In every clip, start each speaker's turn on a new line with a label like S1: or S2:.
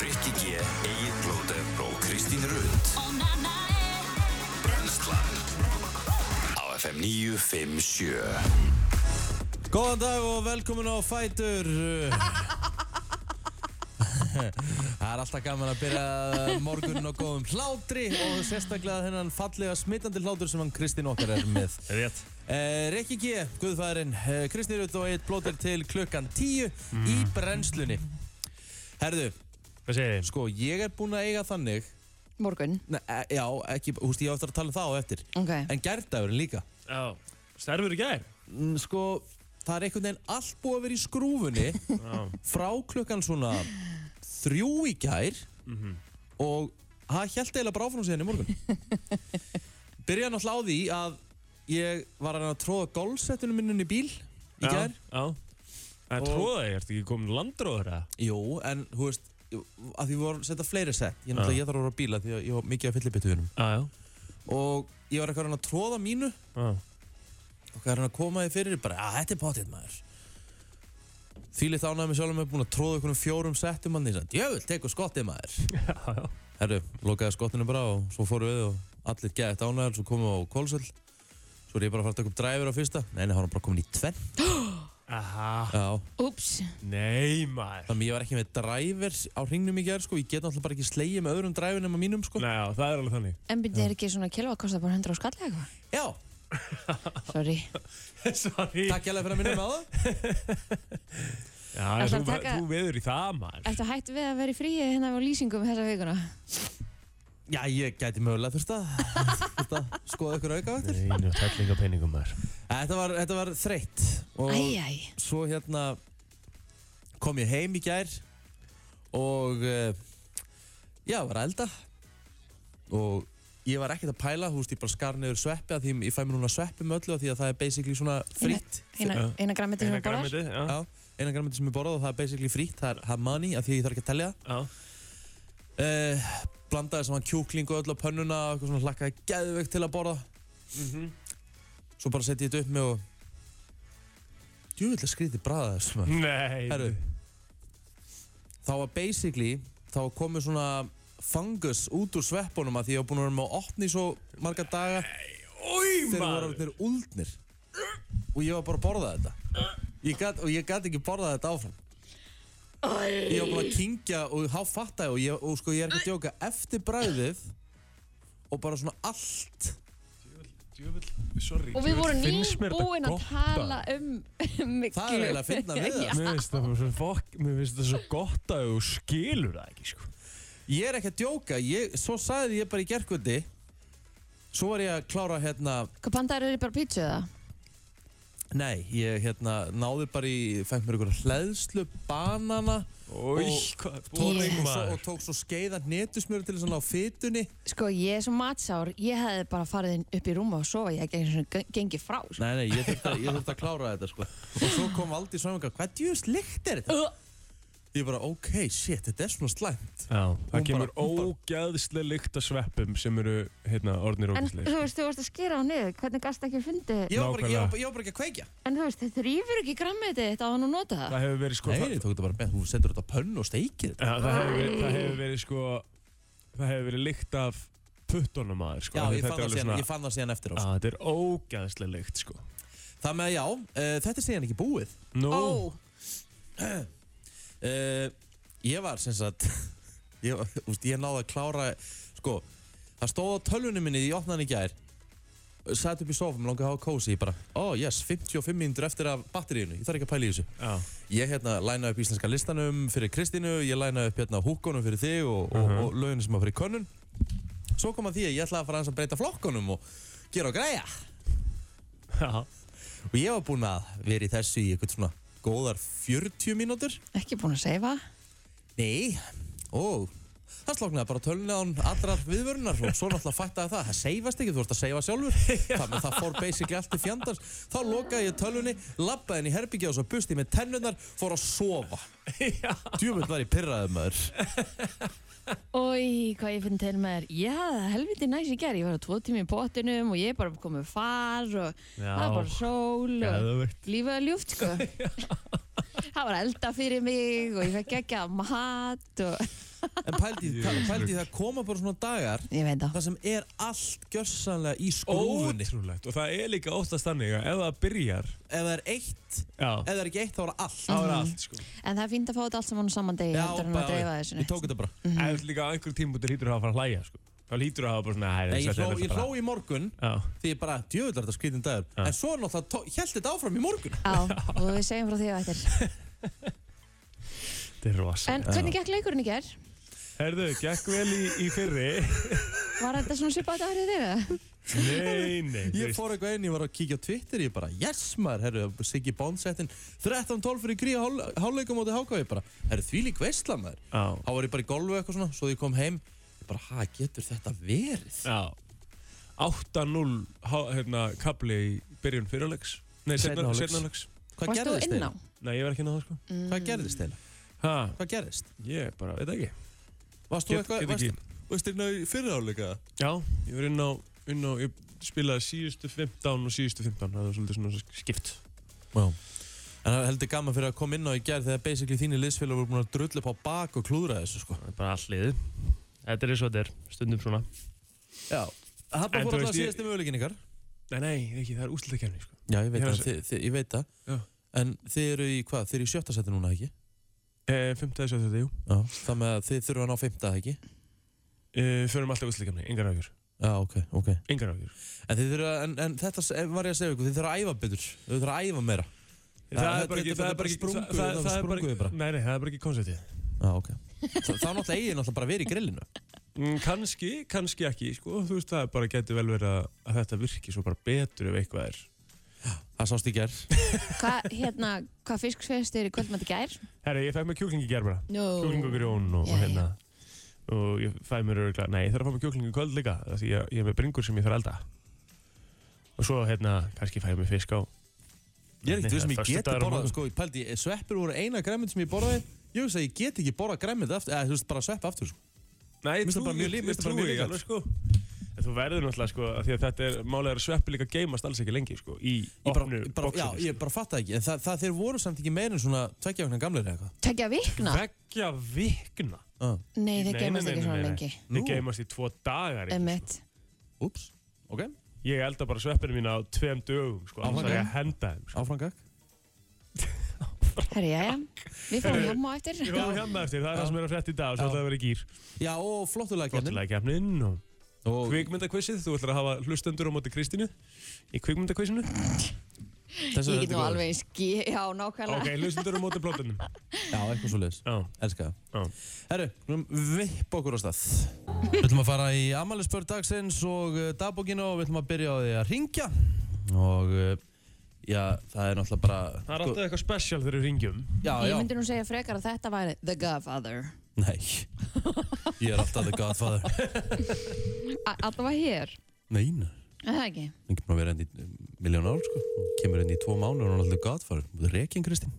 S1: Rikki G, Egil Blóter og Kristín Rund Brenslan Á FM 957
S2: Góðan dag og velkomin á Fætur Það er alltaf gaman að byrja morgunin á góðum hlátri og sérstaklega þennan fallega smittandi hlátur sem hann Kristín okkar er með
S3: Rétt
S2: Eh, Rikki G, Guðfæðurinn, eh, Kristín Rut og Eitt Blóter til klukkan 10 í brennslunni Herðu,
S3: Hvað segir þið?
S2: sko ég er búinn að eiga þannig
S4: Morgun,
S2: Nei, e- já, ekki, húst ég á eftir að tala um það á eftir
S4: ok
S2: En gærdagurinn líka
S3: Já, stærfur í gær
S2: Mm, Sko, það er einhvern veginn allt búið að vera í skrúfunni
S3: Já,
S2: frá klukkan svona þrjú í gær
S3: Mhm.
S2: og það held eiginlega bara áfram síðan í morgun byrjaði náttúrulega á því að ég var að reyna að tróða golfsettinu minn inn í bíl í gær
S3: Já, já. Það er
S2: Og-
S3: tróðið, ertu ekki komin landróður eða?
S2: jú, en hú veist að því við vorum að setja fleiri sett ég, náttúrulega,
S3: Já.
S2: ég þarf að voru á bíla því að ég var mikið að fyllibituðunum
S3: Já,
S2: og ég var eitthvað að reyna að tróða mínu
S3: já
S2: og hvað er hann að koma því fyrir bara, að þetta er potið maður Þýlið þánaði mig sjálfum að búin að tróða einhvernum fjórum settum manni í sætt, jöfnvel, tekur skottið maður
S3: Já, já
S2: Herru, lokaði skottinu bara og svo fóru við og allir gæði dánæðar, svo komum við á kólsöll Svo er ég bara að fara að taka upp dræfur á fyrsta Nei, nei, hann var bara komin í tvenn
S3: Aha,
S2: Já,
S4: Úps,
S3: nei maður
S2: þannig að ég var ekki með dræfur á hringnum í gerð, sko Ég get náttúrulega bara ekki slegið með öðrum dræfur nema mínum, sko
S3: Nei, já, það er alveg þannig
S4: en byrja er ekki svona kilva að kosta bara 100 á skalli eða eitthvað?
S2: Já,
S4: Sorry,
S3: Sorry
S2: takk hérlega fyrir að minna með það
S3: Já,
S4: Ætlar
S3: þú,
S4: að taka-
S3: þú veður í það maður
S4: ertu hætt við að vera í fríi hérna á lýsingum þessa vikuna?
S2: Já, ég gæti mögulega þurft að þurft að skoða ykkur aukavættir
S3: Neinu, tællinga peningum maður
S2: þetta, var- þetta var þreytt og
S4: Æj, æj,
S2: svo hérna kom ég heim í gær og uh, já, var að elda og ég var ekkert að pæla, þú veist, ég bara skar niður sveppi að því ég fæ mér núna sveppi með öllu að því að það er basically svona fritt
S4: eina,
S3: Já.
S4: eina grammeti sem
S3: Eina
S4: við borðar?
S3: grammitið, já
S2: Já, einan græmyndi sem ég borðað og það er basically fritt, það er hamani að því að ég þarf ekki að telja
S3: Já,
S2: það uh, blandaði saman kjúkling og öllu á pönnuna og eitthvað svona hlakkaði geðveikt til að borða
S3: Mhm.
S2: svo bara setti ég þetta upp með og djúvill að skrýti bræða þessum að
S3: Nei
S2: Herru, þá var basically, þá var komið svona fungus út úr sveppunum að því ég var búinn að vera með að opna í svo marga daga
S3: Új
S2: þegar voru
S3: maður
S2: orðnir úldnir og ég var bara að borða þetta ég gat, og ég gat ekki borðað þetta áfram ég var búinn að kynkja og háfatta og, ég, og sko ég er ekki að djóka eftir bræðið og bara svona allt
S3: Djöfull, sorry
S4: Og við vorum
S3: djöfull, finnst mér þetta
S4: nýbúin að
S3: gott,
S4: tala
S3: maður.
S4: um miklu.
S2: það er eiginlega að finna við það
S3: Mér finnst það bara svo fokk Mér finnst það svo gott að þú skilur það ekki sko
S2: Ég er ekki að djóka, ég, svo sagði ég bara í gerkvöldi Svo var ég að klára hérna
S4: Hvað bandar eru bara pítsu eða?
S2: Nei, ég hérna náði bara í, fætt mér einhverja hleðslu, banana
S3: Új,
S2: Og-
S3: hvað
S2: tók,
S4: Yes.
S2: og, svo, og tók svo skeiðan netusmjöru til þess að ná fytunni
S4: Sko, ég er svo matsár, ég hefði bara farið inn upp í rúma og sofa, ég hef ekki einu sinni gen- gengið frá. Sko.
S2: Nei, nei, ég þurfti að, ég þurfti að klára þetta sko Og svo kom Valdi Svæmunga, hvað djúst lykt er þetta? Ég bara, ok, shit, þetta er svona slæmt
S3: Já, það
S2: Hún
S3: kemur
S2: bara- hún bara-
S3: ógæðslega lykt að sveppum sem eru hérna orðnir
S4: En
S3: ógæðslega
S4: þú veist, þú varst að skera á niður, hvernig gasta ekki að fundi?
S2: Ég var bara, ég var,
S3: Nákvæmlega.
S2: bara- ég var bara ekki að kveikja
S4: En þú veist, þetta rýfur ekki grammeti þetta á hann að nota það.
S3: Það hefur verið sko
S2: Nei,
S3: það,
S2: ég tók þetta bara með, hún setur þetta á pönnu og steikir þetta
S3: Já, það, hefur verið, það hefur verið sko Það hefur verið lykt af puttunum aður sko
S2: Já,
S3: Þetta
S2: ég
S3: er
S2: fann, það
S3: alveg
S2: síðan,
S3: svona-
S2: ég fann það síðan eftir á
S3: Já,
S2: sko.
S3: Þetta er ógæðslega lykt sko
S2: Það með að já, uh, þetta er síðan ekki búið
S3: Nú,
S4: Ó,
S2: Uh, ég var sem sagt ég, var- úst, ég náði að klára sko, það stóð á tölvunni minni því ég opnaði hann í gær satt upp í sofum, langaði að hafa kósi ég bara, oh yes, 55 mínútur eftir af batteríinu ég þarf ekki að pæla í þessu
S3: já,
S2: ég hérna lænaði upp íslenska listanum fyrir Kristínu ég lænaði upp hérna húkkonum fyrir þig og, og,
S3: Mhm.
S2: og löginu sem að fyrir könnun svo kom að því að ég ætlaði að fara aðeins að breyta flokkonum og gera og græja
S3: já,
S2: og ég var búinn að vera í þessu í eitthvað svona góðar 40 mínútur
S4: ekki búin að seifa.
S2: Nei, ó Það sloknaði bara tölunni án allrar viðvörunar og svo náttúrulega fættaði það, það seifast ekki, þú vorst að seifa sjálfur þannig að það fór basically allt í fjandars þá lokaði ég tölunni, labbaði henni í herbyggja og svo busti ég með tennunar, fór að sofa
S3: já.
S2: Djúmöld var ég pyrraðið maður
S4: Ói, hvað ég finn til með þér Já, helviti næs í gerð Ég var á tvo tími í pottinum og ég er bara komið far og
S3: Já.
S4: það var bara sól og
S3: Geðveikt.
S4: lífið er ljúft sko það var elda fyrir mig og ég fekk ekki að mat og
S2: En pældi, pældi það koma bara svona dagar
S4: ég veit það
S2: Það sem er allt gjörsanlega í skrúfunni
S3: Ótrúlegt, og það er líka óttast þannig að ef það byrjar
S2: Ef það er eitt, ef
S3: Já,
S2: það er ekki eitt þá er allt
S3: það er allt sko
S4: en það er fínt að fá þetta allt saman á saman degi heldur en
S2: bara-
S4: að dreifa þessu
S2: Ég tók þetta bara
S3: En þú ert líka á einhverjum tímpunkti hlýtur að hafa að fara að hlæja sko Þá hlýtur að hafa bara svona "Æ,
S2: Nei,
S3: þetta
S2: Ég
S3: er
S2: hló,
S3: þetta
S2: ég
S3: bara."
S2: hló í morgun
S3: Já,
S2: Því ég bara, djöðlar þetta skritin dagur
S3: Já.
S2: En svo náttúrulega held þetta áfram í morgun
S4: Já, og við segjum frá því á eftir.
S3: þetta er rosa
S4: En hvernig gekk leikurinn í gerð?
S3: Herðu, gekk vel í, í fyrri
S4: Var þetta svona svipað að þetta árið þeirra?
S3: Nei, nei þú
S2: Ég
S3: veist,
S2: fór eitthvað inn, ég var að kíkja á Twitter Ég bara, yes maður, herru, Siggi Bondsettin 13-12 fyrir gríja hálfleikum átti háká Ég bara, herru, þvílík veistla maður
S3: Já,
S2: Þá var ég bara í golfu eitthvað svona, svo ég kom heim Ég bara, ha, getur þetta verið?
S3: já 8-0 há- hérna, kabli í byrjun fyrirleiks Nei,
S2: Seinni hálfleiks.
S3: setnaðleiks
S2: Hvað
S4: Varst þú
S2: gerðist
S4: inn á?
S2: þeirra?
S3: Nei, ég var ekki inn á það sko
S2: Hvað gerðist þeirra?
S3: Ha,
S2: Hvað gerðist?
S3: ég bara, veit það ekki
S2: Varst þú
S3: Get-
S2: eitthvað,
S3: get ekki.
S2: varst- varst þérna í fyrirháleika?
S3: Já, ég var inn á, inn á Ég spilaði síðustu 15 og síðustu 15 Það var svolítið svona skipt
S2: Já En það er heldur gaman fyrir að koma inn á í gerð þegar basically þínir liðsfélag voru búin að drull upp á bak og klúðra þessu sko
S3: Það er bara all liðið Þetta er eins og þetta er, stundum svona
S2: Já Það
S3: En
S2: bara
S3: þú
S2: fór alltaf
S3: veist, ég-
S2: síðast um öðleikin ykkar
S3: Nei, nei, ekki, það er úslutakefni sko.
S2: Já, ég veit
S3: Ég
S2: það,
S3: hef-
S2: þið, þið, ég veit það
S3: Já.
S2: En þið eru í hvað, þið eru í sjötta seti núna ekki?
S3: e, Fymtaði svo þetta, jú
S2: Já Það með að þið þurfa að ná fymta ekki?
S3: e, Förum alltaf úslutakefni, engar ágjur
S2: Já, ok, ok
S3: Engar ágjur
S2: En þið þurfa, en, en þetta s- eh, var ég að segja ykkur, þið þurfa að æfa betur Þið þurfa að æfa meira þetta- þetta er bara sprungu-
S3: það-
S2: þetta
S3: það er
S2: sprungu
S3: bara
S2: bara.
S3: Nei, nei, það er bara ekki konceptið
S2: Já, ok Þá þá náttúrulega eigið náttúrulega bara verið í grillinu
S3: Mm, Kannski, kannski ekki, sko Þú veist, það er bara getur vel verið að, að þetta virki svo bara betur ef eitthvað er
S2: Það sást í gerð
S4: Hvað, hérna, hvað fisk fyrst er í kvöldmætti gær?
S3: Herra, ég fæ mér kjúklingi gerðbara
S4: No.
S3: Kjúkling og grjón og,
S4: Já,
S3: og hérna Og ég fæ mér öruglega Nei, ég þarf að fá mér kjúkling í kvöld líka af Því ég, ég er með bringur sem ég þarf að elda Og svo, hérna, kannski fæ ég mér fisk á
S2: Ég er
S3: Nei,
S2: ekkert þau sem
S3: það
S2: ég
S3: er
S2: geti
S3: föstudagur á
S2: borðað,
S3: morgun.
S2: sko, ég pældi, ég- sveppir voru eina græmið sem ég borðaði, ég veist að ég get ekki borðað græmið aftur, eða þú veist, bara svepp aftur, sko.
S3: Nei,
S2: Mér
S3: ég
S2: finnst það
S3: trúi,
S2: bara mjög
S3: ég,
S2: lí-
S3: ég
S2: mér finnst það bara mjög
S3: trúi ég
S2: líklegt.
S3: alveg sko En þú verður náttúrulega sko af Því að þetta er málega að sveppi líka geymast alls ekki lengi sko Í
S2: Ég bara,
S3: opnu
S2: ég bara, já,
S3: bóksinu
S2: ég bara fatta ekki, en það, það þeir voru samt ekki meira en svona tveggja vegna gamleir eða eitthvað.
S4: Tekja vikna?
S3: Vekja sko. vikna
S2: Ah,
S4: Nei,
S3: Nei,
S4: það gemast
S3: nei,
S4: ekki
S3: nei,
S4: svona
S3: nei, nei.
S4: lengi.
S2: Nú.
S3: Þið geymast í tvo dagar ekki,
S4: Emmett.
S2: Úps, ok,
S3: sko. Ég elda bara sveppinu mína á tveim dögum sko Þannig að
S2: Áfram.
S3: ég að henda þeim sko.
S2: áfram gakk.
S4: Herri, jæja. Við fáum
S3: Herri,
S4: hjá á eftir.
S3: Ég var hérna eftir, það er það sem er að frétta í dag og Svo
S2: Já.
S3: ætlaði að vera í gýr
S2: Já, og flottulega gerðin.
S3: Flottulega kemnin og
S2: Og
S3: Kvikmyndakvissið, þú ætlar að hafa hlustendur á móti Kristínu Í kvikmyndakvissinu
S2: þessu
S4: Ég get
S2: heldur
S4: nú
S2: góður.
S4: alveg skí, já,
S3: Ok,
S4: nákvæmlega.
S3: hlustendur á móti blótunum
S2: Já, eitthvað svo leiðis.
S3: Já,
S2: Elska
S3: Já.
S2: það. Herru, við vipp okkur á stað. Við ætlum að fara í amalispörð dagsins og uh, dagbókinu og við ætlum að byrja á því að ringja. Og, uh, já, það er náttúrulega bara... Sko,
S3: það er alltaf eitthvað special þegar við ringjum
S2: Já,
S4: Ég
S2: já.
S4: myndi nú segja frekar að þetta væri The Godfather.
S2: Nei, ég er alltaf the godfather
S4: A- Alltaf var hér.
S2: Nei, nei,
S4: Er Það ekki.
S2: hann getur maður að vera enn í miljón ár sko Hún Kemur enn í tvo mánu og hann er alltaf the godfather Þú er rekin, Kristín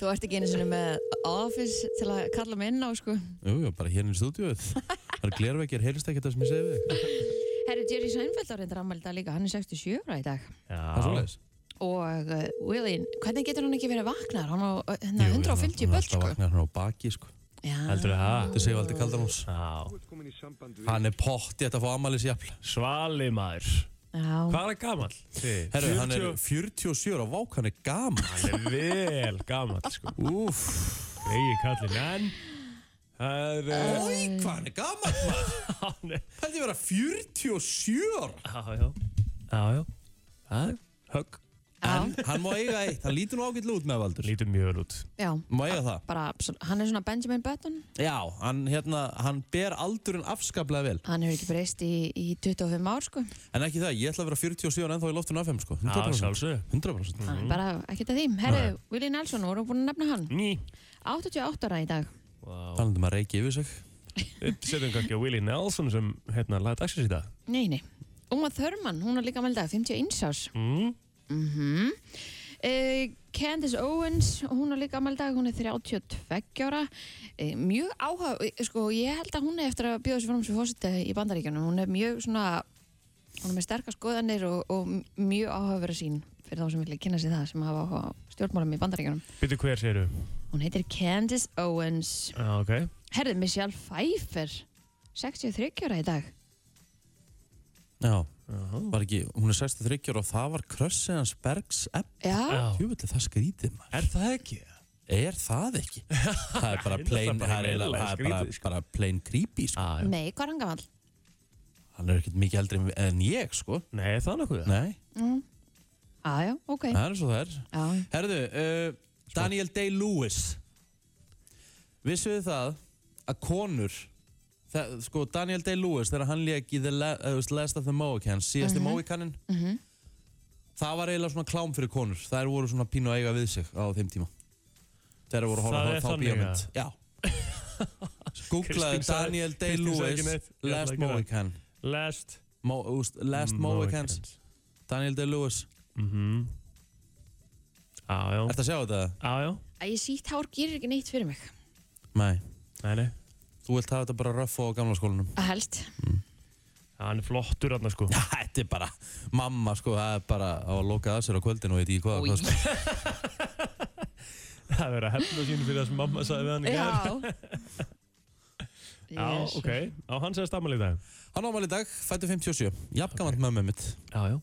S4: Þú ert ekki einu sinni með office til að kalla mig inn á, sko.
S2: Jú, jú, bara hérna í stúdíuð Það er glerveggir, heyrist ekki það sem ég segi við þig.
S4: Herri, Jerry Seinfeld á reyndar afmæli í dag líka. Hann er 67 ára í dag.
S2: Það er
S3: Já,
S2: svoleiðis
S4: Og uh, Willin, hvernig getur hann ekki verið vaknar? Hann á uh, hérna,
S2: Jú, jú,
S4: 150
S2: hann er
S4: börn,
S2: alltaf
S4: sko.
S2: vaknar, Hann er á baki, sko
S4: Já.
S3: heldur það
S2: Þetta segir aldrei kaldar hans
S3: Já,
S2: Hann er pott í þetta að fá amalis jafn
S3: Svali maður
S4: Já.
S3: Hvað er hann gamall?
S2: Herru, hann er
S3: 40.
S2: 47 ára, vák, hann er gaman
S3: Hann er vel gamall sko
S2: Úf
S3: Gregi kallinn En Það er eh,
S2: Ói, hvað hann er gaman, maður
S3: Hann er
S2: Þetta er vera 47 ára
S3: Já, já Já, já Það er högg
S2: En hann má eiga eitt, hann lítur nú ágætlega út með valdur
S3: Lítur mjög vel út
S4: Já.
S2: Má eiga það
S4: Bara, absol- hann er svona Benjamin Button.
S2: Já, hann, hérna, hann ber aldurinn afskaplega vel
S4: Hann hefur ekki breyst í, í 25 ár, sko.
S2: En ekki það, ég ætla að vera 47 ára ennþá í loftinu af 5 sko. 100%,
S3: sjálfsög
S2: 100%.
S4: Hann er Ah, bara ekkert að því. Herri, Willi Nelson, vorum búin að nefna hann.
S3: Ný
S4: 88 ára í dag.
S3: Vá
S2: Talandi um að reiki yfir sig
S3: Við setjum kannski á Willie Nelson sem hérna laði dagsins í dag
S4: Nei, nei. Uma Thurman, hún er líka meðal dag, 51 árs.
S3: mm.
S4: Uh, Candice Owens, hún er líka amaldag, hún er 32 ára uh, mjög áhuga, eh, sko ég held að hún er eftir að bjóða sér fram sem fósiti í bandaríkjunum, hún er mjög svona hún er með sterkar skoðanir og, og mjög áhuga sín fyrir þá sem vilja kynna sér það sem hafa áhuga á stjórnmálum í bandaríkjunum.
S3: Býtu hver séru?
S4: Hún heitir Candace Owens.
S3: Já, ok.
S4: Herðu, Michelle Pfeiffer, 63 ára í dag.
S2: Já, var ekki, hún er 63 ára og það var krössið hans Bergs Epp
S4: Já,
S2: Júvillig, það skrítið maður
S3: Er það ekki?
S2: Er það ekki? það er bara plain,
S3: bara
S2: það er eiginlega- sko. það
S3: eiginlega
S2: er bara,
S3: skrítið,
S2: bara plain creepy sko.
S3: Já, já.
S4: nei, hvað er hann gamall?
S2: Hann er ekkert mikið eldri en- en ég sko
S3: Nei, er það nokkuð það?
S2: Nei,
S4: Já, já, ok.
S2: það er eins og það er
S4: Já,
S2: Herðu, uh, Daniel Day-Lewis Vissuð þið það að konur það, sko, Daniel Day-Lewis þegar hann lék í The La uh, Last of the Mohicans síðasti mm
S4: Mhm.
S2: það var eiginlega svona klám fyrir konur þær voru svona pínu að eiga við sig á þeim tíma þeir voru að horfa
S3: Það
S2: á
S3: er
S2: þá
S3: þannig,
S2: bíómynd Já
S3: Kristín
S2: Googlaði
S3: sagði-
S2: Daniel
S3: Kristín sagði
S2: Day-Lewis
S3: ekki neitt. Ég ætla
S2: Last
S3: að gera það. Mm,
S2: Mohican
S3: Last
S2: Mo úst, Last Mohicans Daniel Day-Lewis
S3: Mhm. Já, já.
S2: Ertu að sjá þetta?
S3: Já, já.
S4: Æ, ég sítt hár gerir ekki neitt fyrir mig.
S2: Nei
S3: Nei, nei.
S2: Þú vilt hafa þetta bara röff á gamla skólanum
S4: Að helst.
S3: Já, hann er flottur hann, sko.
S2: Ja, Þetta er bara, mamma sko, það er bara á að loka að sér á kvöldinu og veit ég hvað,
S4: Új.
S2: hvað sko.
S3: Það verður að hefna sín fyrir það sem mamma sagði við hann í gær.
S4: Já.
S3: Já, ok. Já, hann segist afmæli í dag.
S2: Hann ámæli í dag, fættu 57, jafngamant okay. mömmu mitt.
S3: Já, já.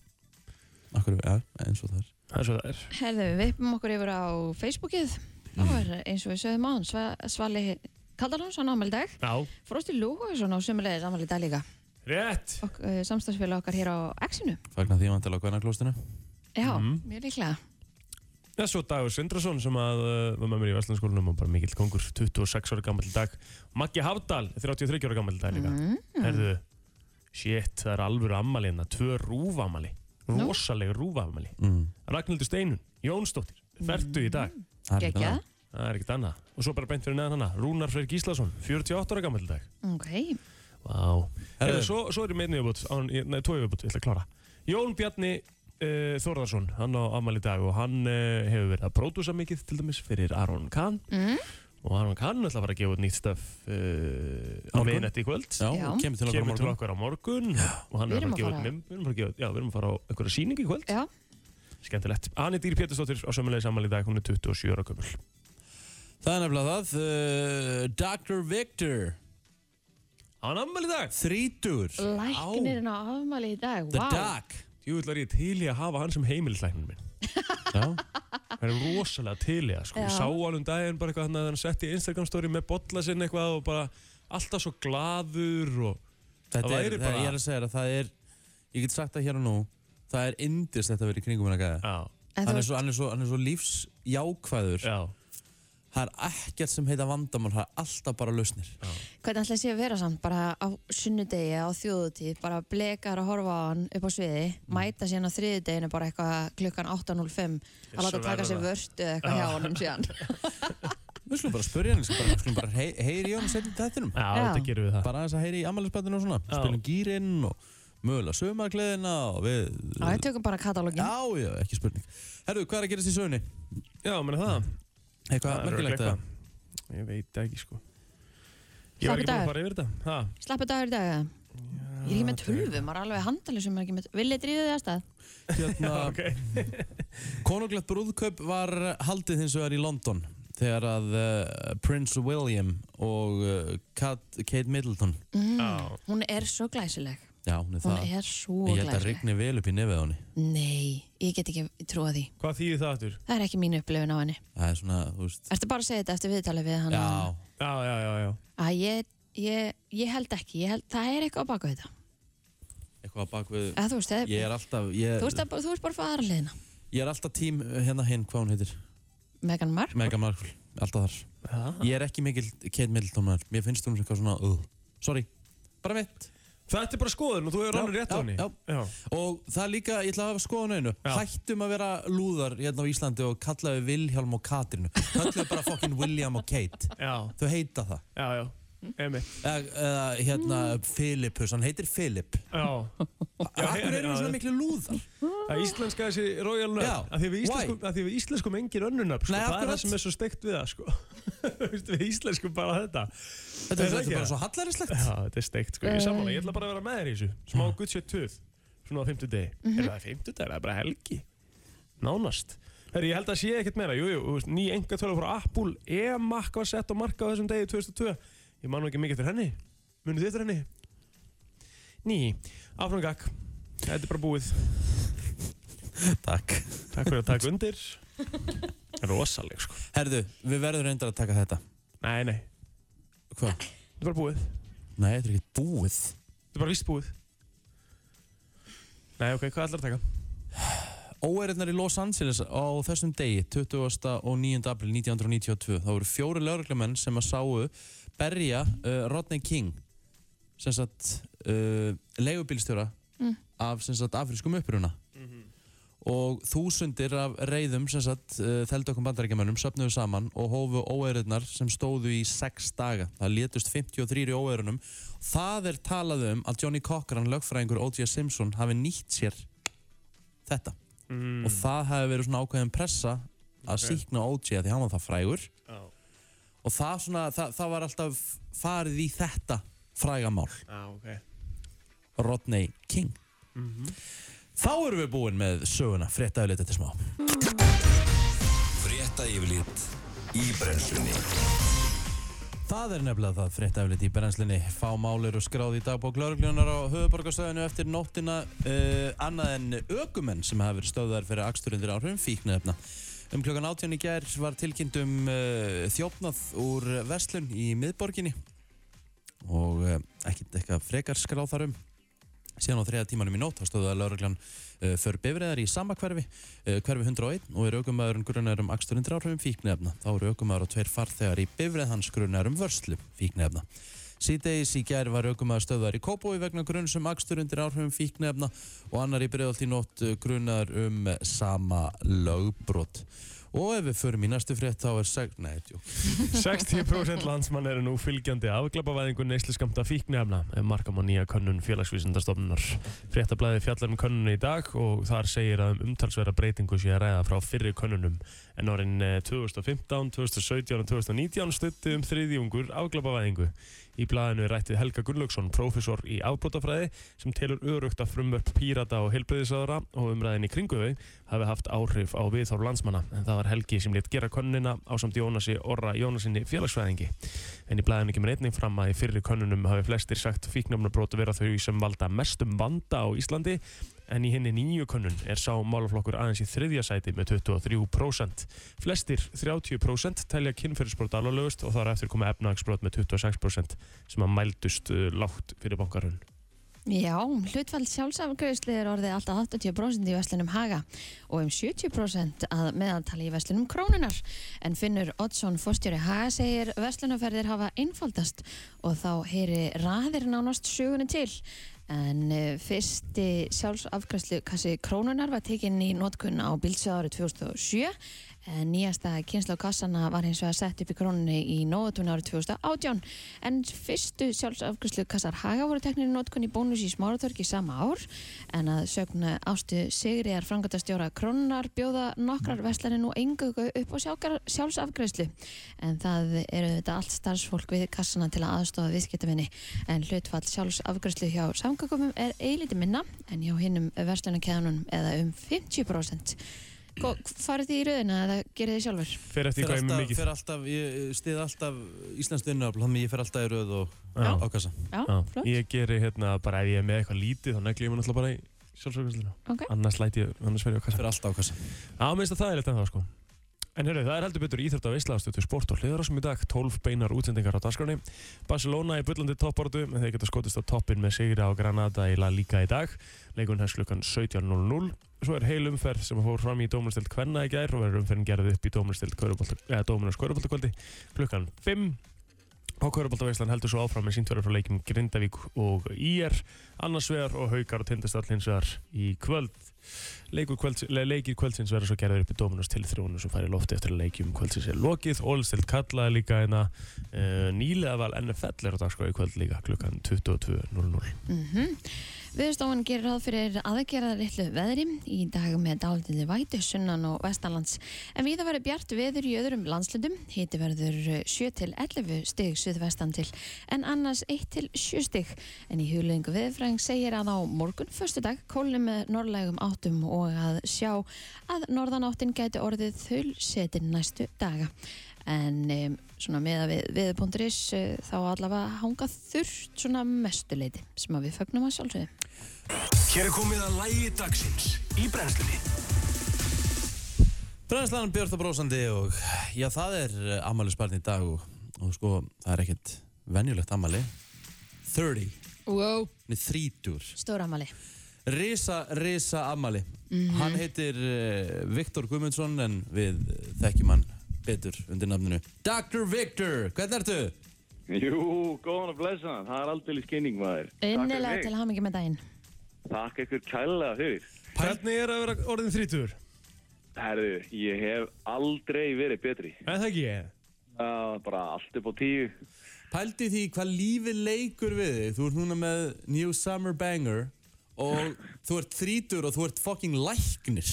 S2: Akkur, ja, eins og það er.
S3: Það er svo það er.
S4: Herðu, við vippum okkur yfir á Facebookið. Það var eins og við sögðum á hann, Svali Kaldalons, hann ámæli í dag.
S3: Já.
S4: Frosti Lúhausson á sömulegis ámæli í dag líka.
S3: Rétt.
S4: Ok, uh, Samstagsfélag okkar hér á Exinu.
S2: Fagnar því vantilega á Gvennaklóstinu.
S4: Já,
S3: Mhm.
S4: mjög líklega.
S3: Það er svo Dagur Sindrason sem að, uh, var með mér í Vestlandskólanum og bara mikill kongur, 26 ára gammal dag. Maggi Hafdal, 33 ára gammal dag líka.
S4: Mm.
S3: Herðu, shit, það er alvöru ammali hérna, tvö rúfamali.
S4: Nú.
S3: Rosaleg rúfamali.
S2: Mm.
S3: Ragnhildur Steinun, Jónsdóttir, ferdu í dag.
S2: það er ekki
S4: Gekja.
S2: annað.
S3: Það er ekkert annað. Og svo bara beint fyrir neðan hana, Rúnar Freyr Gíslason, 48 ára gammal dag.
S4: Ok.
S3: Vá. Herðu,
S2: Herðu.
S3: svo, svo er ég meðin viðbútt, nei, tói viðbútt, ég ætla að klára. Jón Bjarni uh, Þórðarsson, hann á afmæli í dag og hann uh, hefur verið að pródúsa mikið til dæmis fyrir Aron Kahn
S4: Mm.
S3: og Aron Kahn ætla að fara að gefa út nýtt stöf uh, á
S2: Morgun.
S3: miðnætti í kvöld.
S2: Já,
S4: Já.
S2: já. kemur til okkar á
S3: Kemur til
S2: morgun.
S3: okkar á morgun og hann
S4: Við
S3: er að
S4: erum
S3: fara að gefa
S4: að
S3: út,
S4: fara-
S3: mynd- við erum að fara að gefa út- já, við erum að fara á einhverja síningu í kvöld.
S4: Já,
S3: Skemmtilegt. Anni Dýr Pétursdóttir á sömulegi sammæli í dag, hún er 27 ára gömul.
S2: Það er nefnilega það, uh, Dr. Victor,
S3: Hann afmæli í dag!
S2: þrítur.
S4: læknirinn á afmæli í dag.
S2: The
S4: Vá.
S2: Duck.
S3: Jú, ætlar ég til í að hafa hann sem heimilislæknin minn.
S2: Já.
S3: Það er rosalega til í það, sko. Ég
S4: Já.
S3: sá hann um daginn bara eitthvað þannig að hann setti í Instagram story með bolla sinn eitthvað og bara alltaf svo gladur og...
S2: Þetta er,
S3: Það væri
S2: það,
S3: bara-
S2: ég er að segja þér að það er, ég get sagt það hér og nú, það er indist þetta að vera í kringum hennar gæða.
S3: Já,
S4: En
S2: Hann
S4: þú
S2: er svo, hann er svo, hann er svo lífsjákvæður.
S3: já.
S2: Það er ekkert sem heita vandamál, það er alltaf bara lausnir.
S4: Hvernig ætlaði sé að vera samt bara á sunnudegi, á þjóðutíð, bara blekar að horfa á hann upp á sviði,
S2: Mm.
S4: mæta síðan á þriðudeginu bara eitthvað klukkan 8.05 að láta
S3: svo
S4: taka
S3: verður
S4: sér
S3: það.
S4: vörtu eða eitthvað hjá honum síðan.
S2: Við skulum bara spyrja hann, við skulum bara hey, heyri í honum setjum þettinum.
S3: Já, þetta gerum við það.
S2: Bara aðeins að heyri í ammælisbættinu og svona.
S3: Já.
S2: Spilum gýrinn og mögulega sömargleðina og við...
S4: Já, við tökum bara katalógin.
S2: Já, já, ekki spurning. Herru, hvað er að gerast í sögunni?
S3: Já, menn það.
S2: Eitthvað
S3: er
S2: Mm. merkilegt
S3: örugglega
S2: eða?
S3: eitthvað. Ég veit ekki, sko. Ég
S4: Slakur
S3: var ekki búin
S4: dagur.
S3: að fara yfir þetta. Ha?
S4: Slappu dagur í dag. eða? Ég er ekki með tölvu, maður er alveg handalið sem er ekki með... Viljið dríðu þið að stað?
S2: Hérna,
S3: Ok.
S2: konunglegt brúðkaup var haldið hins vegar í London þegar að uh, Prince William og uh, Kat, Kate Middleton
S3: Já.
S4: Mm. Hún er svo glæsileg.
S2: Já, hún er
S4: Hún
S2: það.
S4: er svo
S2: Ég held að
S4: glæsileg.
S2: rigni vel upp í nefið á henni.
S4: Nei, ég get ekki trúa því.
S3: Hvað þýðir það aftur?
S4: Það er ekki mín upplifun á henni.
S2: Það er svona, þú veist,
S4: Ertu bara að segja þetta eftir viðtalið við hann?
S2: já,
S3: Já, já, já, já.
S4: Æ, ég, ég, ég held ekki. Ég held, það er eitthvað á baku þetta.
S2: eitthvað á bak við
S4: Eða, þú veist, eða,
S2: Ég er alltaf, ég,
S4: þú, veist að, þú veist bara fyrir aðra liðina.
S2: ég er alltaf tím uh, hérna hinn, hvað hún heitir,
S4: Megan Mark?
S2: Meghan Markle, alltaf þar. Ég er ekki mikill Kate Middleton maður, mér finnst hún eitthvað svona, uh, sorry, bara mitt.
S3: Þetta er bara skoðun og þú hefur
S2: Já,
S3: alveg rétt á
S2: já,
S3: henni.
S2: já. Og það er líka, ég ætla að hafa skoðan einu,
S3: Já.
S2: hættum að vera lúðar hérna á Íslandi og kallaðu Vilhjálm og Katrínu, kalluðu bara fokkin William og Kate,
S3: Já,
S2: þau heita það.
S3: já, já. Emi.
S2: Eða, eða hérna, Philippus, hann heitir Philip.
S3: Já.
S2: Akkur erum við
S3: já,
S2: svona miklu lúðar?
S3: að íslenska þessi Royal Nöfn
S2: Já,
S3: að því við íslenskum, að því við íslenskum engin önnur nöfn sko.
S2: Nei,
S3: það er
S2: akkurat.
S3: það sem er svo steikt við það sko. Þú veist, við íslenskum bara þetta
S2: Þetta er
S3: Er það
S2: þetta
S3: ekki
S2: er bara
S3: það?
S2: svo hallarinslegt.
S3: já, þetta er steikt sko. ég, er sammála, ég ætla bara að vera með þér í þessu smá Mhm. guttsett töð svona á fimmtudegi mm -hmm. er það fimmtudegi, það er bara helgi nánast Herri, ég held að sé ekkert meira, jú, jú, þú veist, ný enga tölur frá Apple, e-Mac var sett á marka á þessum degi 2002, ég man nú ekki mikið eftir henni, munið þið eftir henni? Ný, áfram gakk, þetta er bara búið,
S2: Takk.
S3: takk fyrir að taka undir, rosaleg sko,
S2: Herðu, við verðum reyndar að taka þetta.
S3: nei, nei,
S2: Hvað?
S3: þetta er bara búið,
S2: Nei, þetta er ekki búið.
S3: þetta er bara vist búið, nei, ok, hvað ætlar að taka?
S2: Óeirinnar í Los Angeles á þessum degi, 29. april 1992, þá voru fjóri lögreglamenn sem að sáu berja uh, Rodney King, sem sagt uh, leigubílstjóra
S4: Mm.
S2: af sem sagt afrískum uppruna. Og þúsundir af reyðum sem sagt uh, þeldökum bandarækjamönnum söpnuðu saman og hófu óeirinnar sem stóðu í sex daga. Það létust 53 í óeirunum. Það er talað um að Johnny Cochran, lögfræðingur O.J. Simpson, hafi nýtt sér þetta og það hefði verið svona ákveðin pressa að
S3: Mm. Ok.
S2: síkna OJ að því hann var það frægur
S3: Já,
S2: og það, svona, það, það var alltaf farið í þetta frægamál
S3: já, ok,
S2: Rodney King
S3: Mhm.
S2: Þá erum við búin með söguna frétta yfirleitt eftir smá
S1: Frétta yfirlit í brennslunni
S2: Það er nefnilega það frétta yfirleitt í berenslinni fá málir og skráði í dagbók lauruglunar á höfuborgarstöðinu eftir nóttina uh, annað en ökumenn sem hafa verið stöðar fyrir aksturundir áhrifum fíknefna Um klokkan 18 í gær var tilkynnt um uh, þjófnað úr verslun í miðborginni og uh, ekkert eitthvað frekar skráð þar um. Síðan á þriða tímanum í nótt þá stöðuða lauruglan uh, för bifræðar í sama hverfi, uh, hverfi 101 og er aukumæðurinn grunnar um akstur undir áhrifum fíknefna. Þá eru aukumæður og tveir farþegar í bifræð hans grunnar um vörslu fíknefna. Síðdeis í gær var aukumæður stöðar í Kópói vegna grunns um akstur undir áhrifum fíknefna og annar í breiðalt í nótt uh, grunnar um sama lögbrot. Og ef við förum í næstu frétt þá er seg... Nei, djú.
S3: 60% landsmann eru nú fylgjandi afglapavæðingu neysliskamta fíknefna ef marka má nýja könnun félagsvísindastofnunar. Fréttablaði fjallar um könnunni í dag og þar segir að um umtalsverða breytingu sé að ræða frá fyrri könnunum en árin eh, 2015, 2017 og 2019 stutti um þriðjungur afglapavæðingu. Í blaðinu er rættið Helga Gunnlaugsson, prófessor í afbrotafræði sem telur örugt að frumvörp pírata og helbriðisáðara og umræðin í kringu þau hafi haft áhrif á viðhorf landsmanna en það var Helgi sem létt gera könnina á samt Jónasi Orra Jónasinni félagsfræðingi. En í blæðinu kemur einnig fram að í fyrri könnunum hafi flestir sagt fíknamnabrót vera þau sem valda mestum vanda á Íslandi en í henni nýju könnun er sá málaflokkur aðeins í þriðja sæti með 23%. Flestir 30% telja kynferðisbrot alvarlegust og þar á eftir koma efnahagsbrot með 26% sem að mældust uh, lágt fyrir bankarun.
S4: Já, hlutfall sjálfsafgreðsli er orðið alltaf 80% í Vestlunum Haga og um 70% að meðaltali í Vestlunum Krónunar. En Finnur Oddsson Fostjóri Haga segir Vestlunaferðir hafa einfaldast og þá heyri raðir nánast sögunni til. En eh, fyrsti sjálfsafgreðslu kassi Krónunar var tekinn í notkun á bílsöð árið 2007 en nýjasta kynsla á kassana var hins vegar sett upp í krónunni í nóðutun árið 2018 en fyrstu sjálfsafgjörslu kassar Haga voru teknir í nótkun í bónus í smáratörki sama ár en að sögna ástu Sigriðar frangatastjóra krónunar bjóða nokkrar verslanir nú engugu upp á sjákar- sjálfsafgjörslu en það eru þetta allt starfsfólk við kassana til að aðstofa viðskiptavinni en hlutfall sjálfsafgjörslu hjá samgökumum er eilítið minna en hjá hinnum verslunarkeðanum eða um 50% Gó- farið þið í röðina eða gerið þið sjálfur?
S3: Fer
S2: Fer
S3: eftir hvað ég með
S2: alltaf,
S3: mikið.
S2: fer alltaf, ég stið alltaf Íslands vinnafl, þannig ég fer alltaf í röð og
S3: Já.
S2: á kassa.
S4: Já,
S3: Já,
S4: flott.
S3: ég geri hérna bara ef ég er með eitthvað lítið þá negli ég mér náttúrulega bara í sjálfsögursluna
S4: Ok.
S3: annars læti ég, annars verð ég á kassa
S2: Fer alltaf á kassa.
S3: Já, minnst að það er eitthvað sko En hörru, það er heldur betur íþjóft af Íslandstötu sport og hliðarásum í dag, 12 beinar útsendingar á dagskránni Barcelona í bullandi topportu en þeir geta skotist á toppin með sigra á Granada í La Liga í dag Leikun hefst klukkan 17.00 Svo er heil umferð sem fór fram í dómarstild Kvenna í gær og verður umferðin gerð upp í dómarstild Dómarnas Köruboltakvöldi klukkan 5 Og Köruboltaveislan heldur svo áfram með síntverður frá leikjum Grindavík og IR annars vegar og haukar og tindastall hins vegar í kvöld Leikur kvölds, le- leikir kvöldsins verða svo gerðir upp í Dominos til þrjónu sem færi lofti eftir að leikjum kvöldsins er lokið Ólstild kallaði líka hérna uh, nýlega val NFL er á dagskráði í kvöld líka klukkan 22.00
S4: Mm Viðstofan gerir ráð fyrir aðgerða litlu veðri í dag með dálitiði vætu sunnan og vestanlands. En við það verður bjart veður í öðrum landslundum. Hiti verður 7 til 11 stig suðvestan til en annars 1 til 7 stig. En í hugleðingu viðfræng segir að á morgun förstu dag kólni með norrlægum áttum og að sjá að norðanáttin gæti orðið þull setin næstu daga. En um, svona með að við, viðbúnduris uh, þá allavega hanga þurrt svona mestuleiti sem að við fögnum að sjálfsögðu.
S1: Hér er komið að lægi dagsins í brennslunni
S2: Brennslan Björn og Brósandi og já það er ammali spartin í dag og, og sko það er ekkert venjulegt ammali 30,
S4: Wow,
S2: nei 30
S4: stóramali.
S2: Risa, risa ammali Hann heitir uh, Viktor Guðmundsson en við eh, þekkjum hann betur undir nafninu Dr. Victor, hvernig ertu?
S5: Jú, góðan og blessaðan, það er aldrei skinning maður.
S4: Innilega til hamingi með daginn.
S5: Takk ykkur kælega fyrir.
S3: Hvernig er að vera orðin 30?
S5: Herðu, ég hef aldrei verið betri.
S3: Er það ekki ég?
S5: Uh, bara allt upp á tíu.
S2: Pældi því hvað lífið leikur við þig Þú ert núna með New Summer Banger og þú ert 30 og þú ert fucking læknir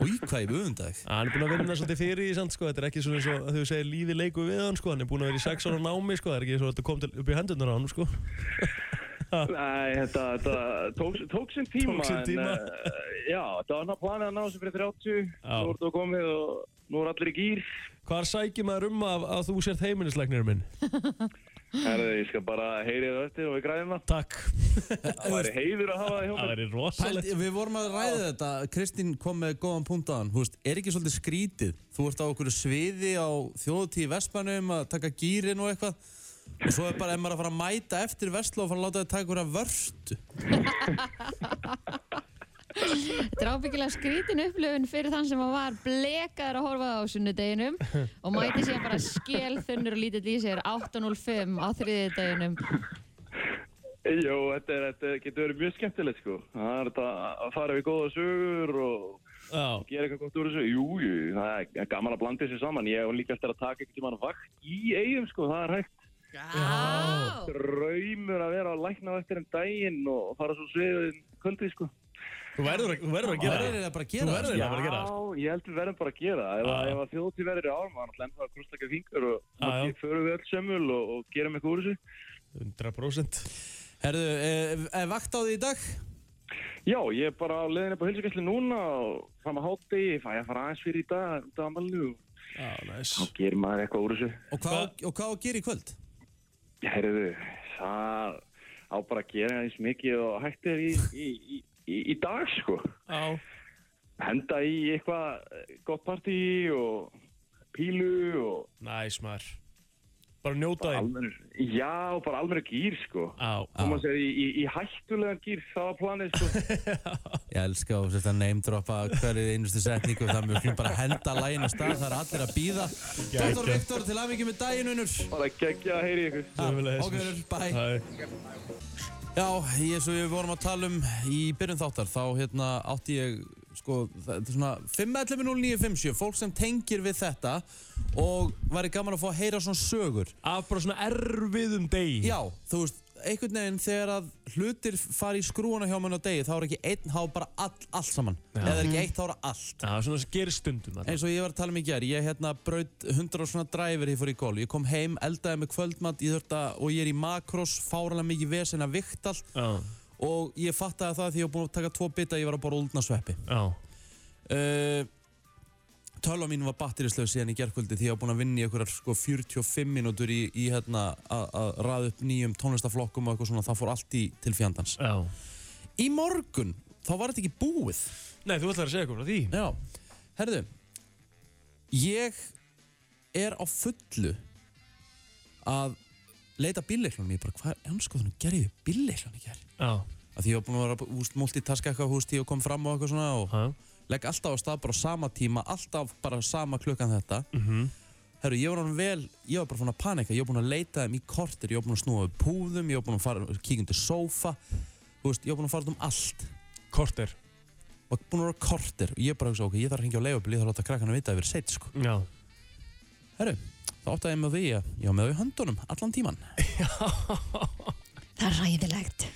S2: Új, hvað ég öfundag
S3: Ah, Hann er búin að vinna svolítið fyrir í samt sko, þetta er ekki svona eins og að þú segir lífið leiku við hann sko, hann er búin að vera í sex ára námi sko, það er ekki svo að þetta kom til upp í hendunar á hann sko.
S5: Nei, þetta, þetta tók, tók sinn tíma.
S3: Ah. Tók sinn tíma.
S5: En, uh, já, þetta var hann að plana að ná þessu fyrir 30. Nú
S3: Já.
S5: er þetta komið og nú er allir í gýr.
S3: Hvar sækir maður um að, að þú sért heimilisleiknir minn?
S5: Herðu, ég skal bara heyri það eftir og við græðum það.
S3: Takk.
S5: Það væri heiður að hafa það hjá
S3: Það
S5: mér.
S3: er
S2: Pælt,
S3: rosalegt.
S2: við vorum að ræða þetta, Kristín kom með góðan punkt á hann, þú veist, er ekki svolítið skrítið? Þú ert á okkur sviði á þjóðutíð Vespanum að taka gýrin og eitthvað og svo er bara, ef maður er að fara að mæta eftir Vestló og fara að láta þið taka okkur að vörstu
S4: Þetta er ábyggilega skrítin upplöfun fyrir þann sem að var blekaður að horfa á sunnudeginum og mæti sér bara skel þunnur og lítill í sér 8.05 á þriðudeginum.
S5: Jó, þetta, er, þetta getur verið mjög skemmtilegt sko. Það er þetta að fara við góða sögur og
S3: Já.
S5: gera eitthvað gott úr þessu. Jú, jú, það er gaman að blanda þessu saman. Ég hef líka eftir að taka eitthvað mann vakt í eigum sko. Það er hægt
S4: Já.
S5: raumur að vera að lækna á eftir um daginn og fara svo sviðin kvöldið sko.
S3: Þú verður að, þú verður að
S2: Það
S3: gera
S2: er
S3: það.
S2: það bara að
S3: Þú
S2: gera
S3: verður
S2: það, sko.
S3: að bara
S5: Já,
S3: gera það. sko. Ah.
S5: ég held við verðum bara að gera það. Ef
S3: Já.
S5: að- Ef að þjóðtíð verður í ár, maður ætlaði að krústa ekki fingur og
S3: Já, Ah, já.
S5: þá förum við öll sömul og, og gerum eitthvað úr þessu.
S3: 100%.
S2: sko. Herðu, er, er vakt á því í dag?
S5: Já, ég er bara á leiðin upp á hilsugæslu núna og fram að hátti, ég fæ að fara aðeins fyrir í dag, út af amalinu og
S3: Já, næs.
S5: Þá gerir maður eitthvað úr þessu.
S2: Og hvað, á- og hvað á að gera í kvöld?
S5: Herðu, það á bara að gera eins mikið og hægt er í, í, í, í, í dag, sko.
S3: Já.
S5: Henda í eitthvað eh, gott partí og pílu og
S3: Næs maður. Bara njóta þín.
S5: almennur. Já, bara almennur gýr, sko.
S3: Já.
S5: Koma sér í, í, í hættulegan gýr, það var planið, sko.
S2: Ég elska og sérst að name droppa hverju einustu setningu það mjög hlum bara henda lægin að stað, það er allir að býða Dr. Viktor, til aðvikið með daginn, unnur
S5: Bara geggja að heyri ykkur.
S3: Sömuleiðis.
S2: Ok, unnur, bye
S3: Hæ.
S2: Já, ég, svo við vorum að tala um í byrjun þáttar, þá hérna átti ég, sko, þetta er svona 5.11.09.57, fólk sem tengir við þetta og væri gaman að fá að heyra svona sögur.
S3: Af bara svona erfiðum degi.
S2: Já, þú veist, einhvern veginn þegar að hlutir fari í skrúana hjá mér á degi, þá er ekki einn, þá er bara all, allt saman. Já. Eða er ekki eitt, þá er allt.
S3: Já, svona sem gerir stundum. alltaf.
S2: Eins og ég var að tala um í gær, ég hérna braut 100 og svona dræfur ég fór í gól. Ég kom heim, eldaði með kvöldmatt, ég þurfti að, og ég er í makros, fáralega mikið vesen að vikta allt.
S3: Já.
S2: og ég fattaði það því ég var búinn að taka tvo bita ég var að borða úldna sveppi
S3: Já.
S2: uh, Tölva mín var batterislaug síðan í gerkvöldi því ég var búinn að vinna í einhverjar sko 45 mínútur í, í hérna að að raða upp nýjum tónlistaflokkum og eitthvað svona það fór allt í til fjandans
S3: Já.
S2: Í morgun, þá var þetta ekki búið
S3: Nei, þú ætlar að segja eitthvað frá því.
S2: Já, herðu Ég er á fullu að leita bíleiklunum ég bara hvað er anskoðunum gerði við bíleiklunum í gerð
S3: Já.
S2: að því ég var búinn að vera úst, multitaska eitthvað húst því og kom fram og eitthvað svona og
S3: Já.
S2: legg alltaf á stað bara á sama tíma alltaf bara sama klukkan þetta
S3: Mhm.
S2: Herru, ég var hann vel, ég var bara fann að panika ég var búinn að leita þeim í kortir, ég var búinn að snúa upp púðum, ég var búinn að fara, kíkja undir sófa þú veist, ég var búinn að fara út um allt
S3: Korter.
S2: og búinn að vera kortir og ég bara hugsa, ok, ég þarf að hengja á leifubili ég þarf að láta krakkana vita að við erum seitt, sko
S3: Já.
S2: Herru, þá áttaði ég með því að ég var með þau í höndunum allan tíman
S4: Það er ræðilegt.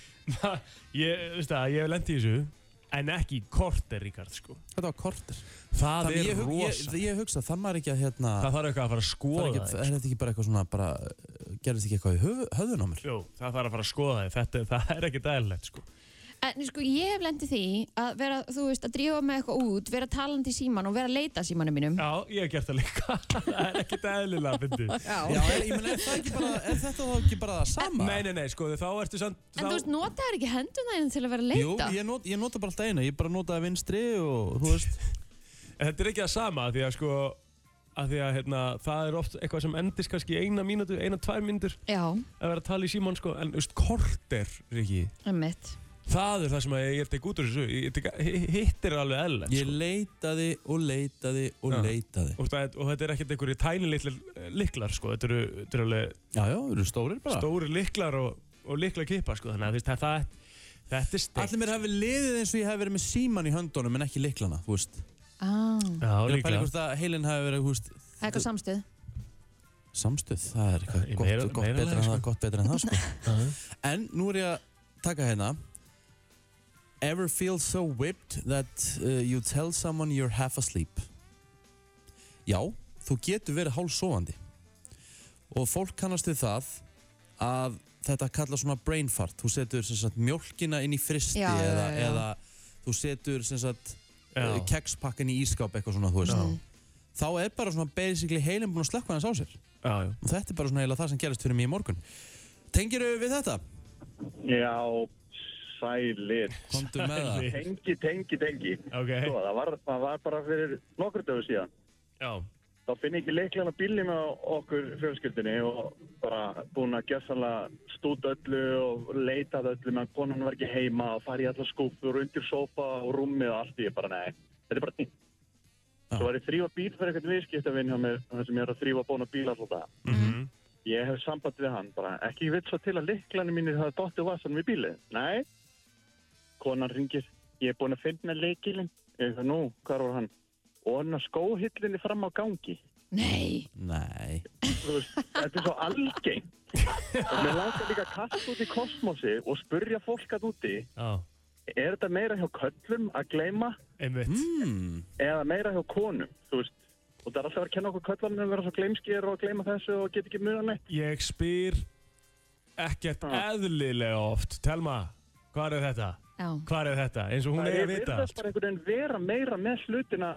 S3: ég, veist það, ég hef lendið í þessu en ekki í korter, Ríkard, sko
S2: Þetta var korter
S3: það
S2: Þannig
S3: er
S2: ég, hug- ég,
S3: rosa
S2: ég hugsa, það maður ekki að hérna
S3: það þarf eitthvað að fara að
S2: það er
S3: skoða
S2: ekki,
S3: það,
S2: er þetta ekki bara eitthvað svona bara, uh, gerðist ekki eitthvað í höf, höfðun á mér
S3: Jú, það þarf að fara að skoða það þetta, það er ekki dæðilegt, sko
S4: En sko, ég hef lendið því að vera, þú veist, að drífa með eitthvað út, vera talandi í síman og vera að leita að símanum mínum.
S3: já, ég hef gert það líka það er ekki dæðilega, fyndið
S2: Já, er, ég meina, er, það ekki bara, er þetta þá ekki bara það sama?
S3: nei, nei, nei, sko, þá ertu samt
S4: En
S3: þá-
S4: þú veist, notaður ekki henduna þín til að vera að
S2: Jú,
S4: leita?
S2: ég, not, ég nota bara alltaf eina, ég bara notaði vinstri og þú veist
S3: En Þetta er ekki það sama af því að sko að því að hérna, það er oft eitthvað sem endist kannski í eina mínútu, eina tvær mínútur
S4: Já,
S3: að vera að tala í síman sko, en veist, korter, Riki
S4: einmitt.
S3: það er það sem að ég tek út úr þessu ég tek, hitt er alveg eðlilegt
S2: Ég
S3: sko.
S2: leitaði og leitaði og
S3: Já.
S2: leitaði
S3: og, það, og þetta er ekkert einhverju tæni litlir liklar sko, þetta eru, þetta eru alveg
S2: Já, já, þú eru stórir bara
S3: stóri liklar og, og likla kipa sko, þannig að þú veist, það, það, þetta er steikt
S2: Allir mér hefði liðið eins og ég hef verið með síman í höndunum en ekki liklana, þú veist
S4: Ah,
S2: Ég er
S3: Já,
S2: að pæla
S3: líklega
S2: hvort að heilin hafi verið, þú veist,
S4: það er eitthvað samstuð.
S2: samstuð, það er eitthvað
S3: Í
S2: gott,
S3: meira-
S2: gott,
S3: meira
S2: betra
S3: lagi,
S2: en
S3: sko.
S2: það, gott betra en það sko.
S3: Já.
S2: En nú er ég að taka hérna Ever feel so whipped that uh, you tell someone you're half asleep Já, þú getur verið hálfsofandi og fólk kannast við það að þetta kalla svona brain fart þú setur sem sagt mjólkina inn í fristi
S4: Já, já,
S2: eða,
S4: já.
S2: eða þú setur sem sagt eh,
S3: Já.
S2: kekspakkan í ískáp eitthvað svona þú veist
S4: Mm.
S2: þá er bara svona basically heilin búin að slökka hans á sér
S3: Já, já.
S2: og þetta er bara svona eiginlega það sem gerist fyrir mig í morgun Tengir við þetta?
S5: Já, sælir.
S2: Komdu með það
S3: Sælir.
S5: Tengi, tengi, tengi. Svo,
S3: ok
S5: Sko, það var, það var bara fyrir nokkur dögu síðan.
S3: já.
S5: Þá finn ég ekki leiklega bílnum á okkur fjölskyldinni og bara búin að gjössanlega stúta öllu og leita að öllu meðan konan var ekki heima og fara í alla skúpur undir sópa og rúmið og allt. Ég bara, nei, þetta er bara tímt.
S2: Já.
S5: Svo var ég að þrýfa bíl fyrir eitthvað viðskiptavinn hjá mér þar sem ég er að þrýfa bóna bíl alltaf það.
S3: Mhm.
S5: Ég hef samband við hann bara, ekki vill svo til að liklanu mínir hafa dottið vassanum í bílið. Nei, konan ringir, ég er búin að finna leikilinn. Ég það nú, hvar var hann? Og hann að skóhillinni fram á gangi.
S4: Nei,
S2: Nei
S5: Þú veist, þetta er svo algengt. Og mér langar líka að kasta út í kosmosi og spurja fólk að úti,
S3: Já,
S5: er þetta meira hjá köllum að gleyma
S3: einmitt
S2: mm.
S5: eða meira hjá konum, þú veist? Og það er alltaf að kenna okkur köllanum að vera svo gleymskir og gleyma þessu og get ekki muna neitt.
S3: Ég spyr ekkert
S5: Já.
S3: eðlilega oft Telma, hvað er þetta?
S4: já.
S3: Hvað er þetta? Eins og hún
S5: Það
S3: er
S5: er
S3: að vita
S5: virðast bara einhvern veginn vera meira með hlutina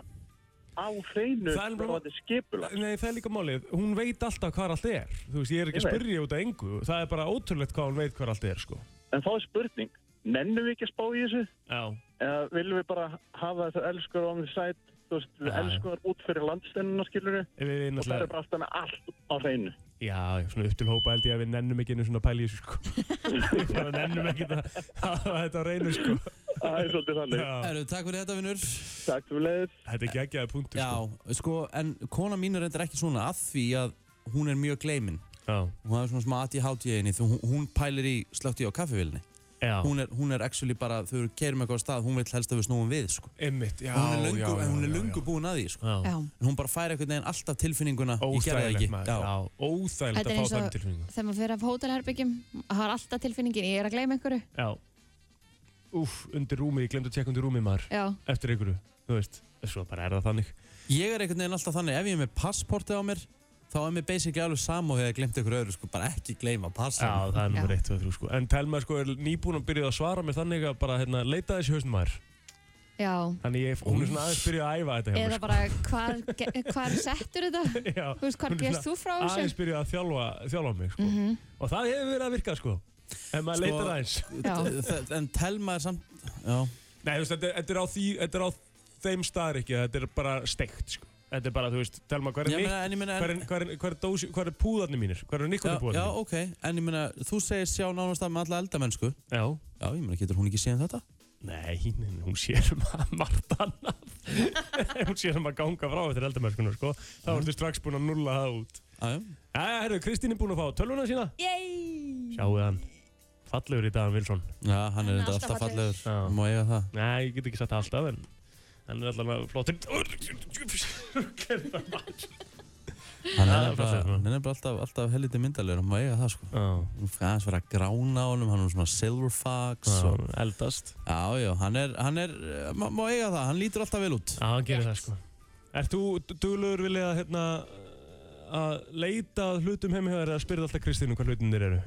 S5: á hreinu
S3: Það er nú-
S5: varðandi skipulag.
S3: Nei, það er líka málið, hún veit alltaf hvað allt er Þú veist, ég er ekki að
S5: Ég veit.
S3: spyrja út af engu Það er bara ótrúlegt hvað hún veit hvað allt er, sko
S5: En þá er spurning, nennum við ekki að spá í þessu?
S3: Já,
S5: Eða viljum við bara hafa þessu elskur á því sætt, þú veist,
S3: Já, já.
S5: elskunar út fyrir landstennuna skilurinu
S3: við við
S5: og það er
S3: náttúrulega
S5: bara alltaf með allt á hreinu.
S3: Já, svona upp til hópa held ég að við nennum ekki einu svona pæli í þessu, sko Við bara nennum ekki að hafa þetta á reynu, sko
S5: Það er svolítið þannig.
S3: Já,
S2: Eru, takk fyrir þetta vinnur
S5: Takk fyrir leiðis.
S3: þetta er geggjaði punktur,
S2: Já, sko, en kona mín er reyndar ekki svona að því að hún er mjög gleimin
S3: sko
S2: hún hafi svona smá aði hátíðinni því hún, hún pælir í slögt í á kaffevilni
S3: Já, já,
S2: hún, er- hún er actually bara, þau eru keirum eitthvað á stað hún vill helst að við snúum við, sko
S3: einmitt, já,
S2: hún er
S3: já,
S2: lungu,
S3: já,
S2: hún er
S3: já,
S2: lungu
S3: já.
S2: búin að því, sko
S3: Já.
S4: já.
S2: en hún bara fær einhvern veginn alltaf tilfinninguna ég gerði það
S3: Óþægilegt
S2: ekki
S3: maður, já, óþægilegt
S4: Þetta er eins
S3: að fá
S4: og-
S3: þannig tilfinningu
S4: Þegar maður fyrir af hótelherbyggjum, það er alltaf tilfinningin, ég er að gleyma einhverju.
S3: Já Úf, undir rúmið, ég glemdi að tjekka undir rúmið maður
S4: Já,
S3: Eftir einhverju, þú veist Svo bara er það þannig
S2: Ég er einhvern veginn alltaf þannig, ef ég er með passportið á mér þá er mér basically alveg sama og hefur glemt ykkur öðru sko, bara ekki gleyma passan
S3: það er
S4: Já.
S3: nummer 1, 2, 3 sko En Telma sko er nýbúin að byrja að svara mér þannig að bara hérna leita þessi hausn maður
S4: já.
S3: Þannig ég, hún er svona aðeins byrjuð að æfa þetta hjá
S4: Eða
S3: mér
S4: bara, hvar, ge- hvar settur þetta?
S3: sko Já,
S4: Þú veist, hvar
S3: Hún er
S4: gerst þú
S3: svona
S4: frá
S3: aðeins
S4: þessu?
S3: byrjuð að þjálfa, þjálfa mig sko
S4: Mhm.
S3: Og það hefur verið að virka sko En maður
S2: Sko-
S3: leitar aðeins
S4: Já.
S2: en telma er samt já.
S3: Nei, þú veist, þetta, þetta, er á því, þetta er á þeim staðar ekki Þetta er bara steikt sko Þetta er bara, þú veist, Telma, hvað
S2: Ég
S3: er,
S2: meina, en ég meina,
S3: hver
S2: en,
S3: er, hver er, hver er, dósi, hver er púðarnir mínir? Hver
S2: já,
S3: er
S2: já,
S3: nikonipúðarnir?
S2: ok en ég meina, þú segir sjá nánast að með alla eldamennsku
S3: Já, já.
S2: já, ég meina, getur hún ekki séð um þetta?
S3: Nei, nei, nei, hún sér um að margt annað Hún sér um að ganga frá eftir eldamennskunar sko. Þá ertu strax búin að nulla það út
S2: Já, já.
S3: Jæja, herru, Kristín er búin að fá tölvuna sína
S4: Yey!
S3: Sjáuð hann, fallegur í dag, hann Vilsson
S2: já, hann er
S4: er
S2: þetta
S4: alltaf
S2: alltaf fallegur
S3: Já.
S2: Má eiga það
S3: Nei, ég get ekki sagt það alltaf en Hann er allavega flottur
S2: Hann
S3: Það
S2: er
S3: er
S2: nefnilega-
S3: fallegt, sko.
S2: hann er nefnilega alltaf, alltaf helviti myndalegur, hann má eiga það sko.
S3: Já,
S2: Hún fyrir aðeins vera að grána á honum, hann er svona silver fox.
S3: já,
S2: Og,
S3: eldast
S2: já, já, hann er, hann er, eh, má, má eiga það, hann lítur alltaf vel út.
S3: Já, hann gerir það sko Ert þú duglegur vilja að, hérna, að leita að hlutum heimi hjá þér eða spyrð alltaf Kristínu hvað hlutinir eru?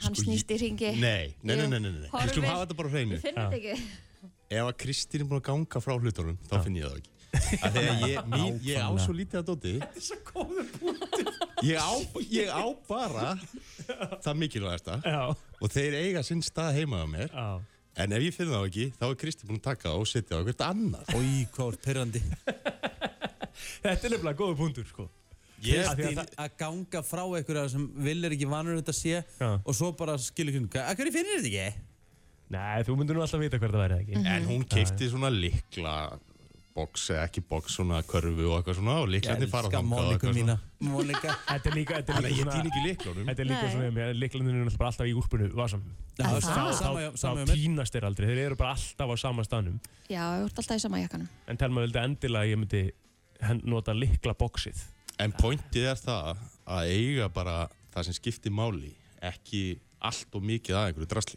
S4: Hann
S6: Sko,
S4: snýst í ringi.
S6: Nei, nei,
S4: Jú.
S6: nei, nei, nei, nei.
S4: Horfir.
S6: Við skulum hafa þetta bara á hreinu.
S4: Ég finn þetta ekki.
S6: Ef að Kristín er búin að ganga frá hlutunum, þá finn ég það ekki. Af því að ég, mín, ég á svo lítið að dóti. Þetta er svo góður punktur. Ég á, ég á bara það mikilvægasta
S3: Já,
S6: og þeir eiga sinn stað heimaða mér.
S3: já
S6: En ef ég finn það ekki, þá er Kristín búin að taka það og setja það á hvert annað.
S2: Í hvað er pyrrandi?
S3: Þetta er nefnilega góður punktur sko
S6: Ég,
S3: Kristín-
S2: Kristín að ganga frá einhverja sem vil er ekki vanur þetta sé
S3: Já.
S2: og svo bara skilur hún, að hverju finnir þetta ekki?
S3: Nei, þú myndir nú alltaf vita hver það væri eða ekki
S6: en hún keipti svona likla box eða ekki box, svona körfu og eitthvað svona og liklandi fara
S2: Elskar
S6: þangað og
S2: Moniku
S6: eitthvað
S2: mína. Monika.
S3: Þetta er líka, þetta er
S6: Þannig að ég
S3: líka
S6: týn
S3: svona
S6: ekki liklunum.
S3: Þetta er líka
S4: Nei.
S3: svona með líklandinu er náttúrulega bara alltaf í úlpunu vasam.
S2: Já,
S4: það-
S2: sama-
S4: þá-
S2: sama hjá- sama um hjá
S3: Þá
S2: mér.
S3: týnast þeir aldrei, þeir eru bara alltaf á sama stanum.
S4: Já, ég vart alltaf í sama jakkanum.
S3: En telma vildi endilega að ég myndi hen- nota líkla bóksið.
S6: En pointið er það að eiga bara það sem skiptir máli ekki allt og mikið að einhverju drasli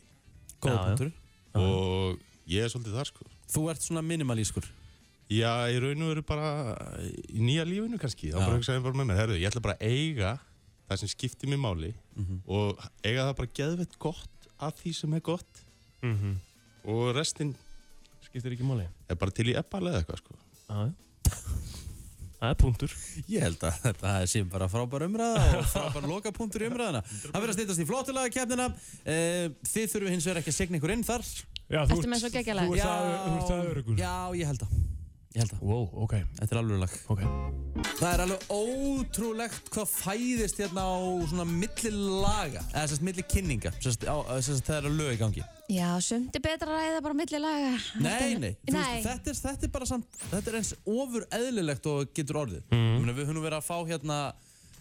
S2: Góð
S3: Já, já.
S2: punktur.
S6: og ég er svolítið þar sko
S2: Þú ert svona minimalískur.
S6: Já, í raun og veru bara í nýja lífinu kannski þá
S2: Já.
S6: bara hugsaði ég bara með mér, herðu, ég ætla bara að eiga það sem skiptir mér máli
S2: Mhm.
S6: og eiga það bara geðvett gott af því sem er gott
S3: Mm
S2: Mhm.
S3: -hmm.
S6: og restin
S3: Skiptir ekki máli.
S6: er bara til í ebbal eða eitthvað sko
S3: Já, já. Það er punktur.
S2: Ég held að þetta sé bara frábær umræða og frábær lokapunktur í umræðana. Það verður að stýtast í flottulega kefnina. Eh, Þið þurfum hins vegar ekki að signa ykkur inn þar.
S3: Já,
S4: Ertu með svo geggjalag?
S3: Þú ert það, þú ert það örugur.
S2: Já, ég held að. Ég held að.
S3: Wow, ok,
S2: Þetta er alveg lag.
S3: ok.
S2: Það er alveg ótrúlegt hvað fæðist hérna á svona milli laga, eða sérst milli kynninga, sérst, á, sérst það eru lög í gangi.
S4: Já, sumt er betra að ræða bara milli laga.
S2: Nei,
S4: Heldur-
S2: nei, þú
S4: nei.
S2: veist, þetta, er, þetta er bara samt, þetta er eins ofur eðlilegt og getur orðið. Mm. Meni, við höfum verið að fá hérna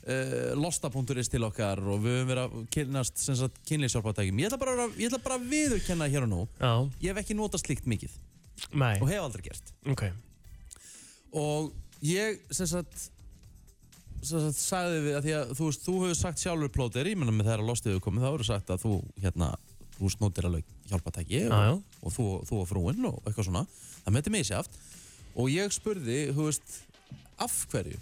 S2: uh, losta.is til okkar og við höfum verið að kynnast sem sagt kynlýsjálpatækjum. Ég ætla bara að, ég ætla bara að viðurkenna hér og nú,
S3: Já,
S2: ég hef ekki notað slíkt mikið
S3: nei,
S2: og hef aldrei gert.
S3: ok.
S2: og ég sem sagt sem sagt sagði við að því að þú veist þú hefur sagt sjálfur plóter ég menna með þeirra lostið hefur komið þá hefur sagt að þú hérna þú snótir alveg hjálpatæki
S3: Já, já.
S2: og, og þú, þú og frúinn og eitthvað svona það meti mig sér aft og ég spurði þú veist af hverju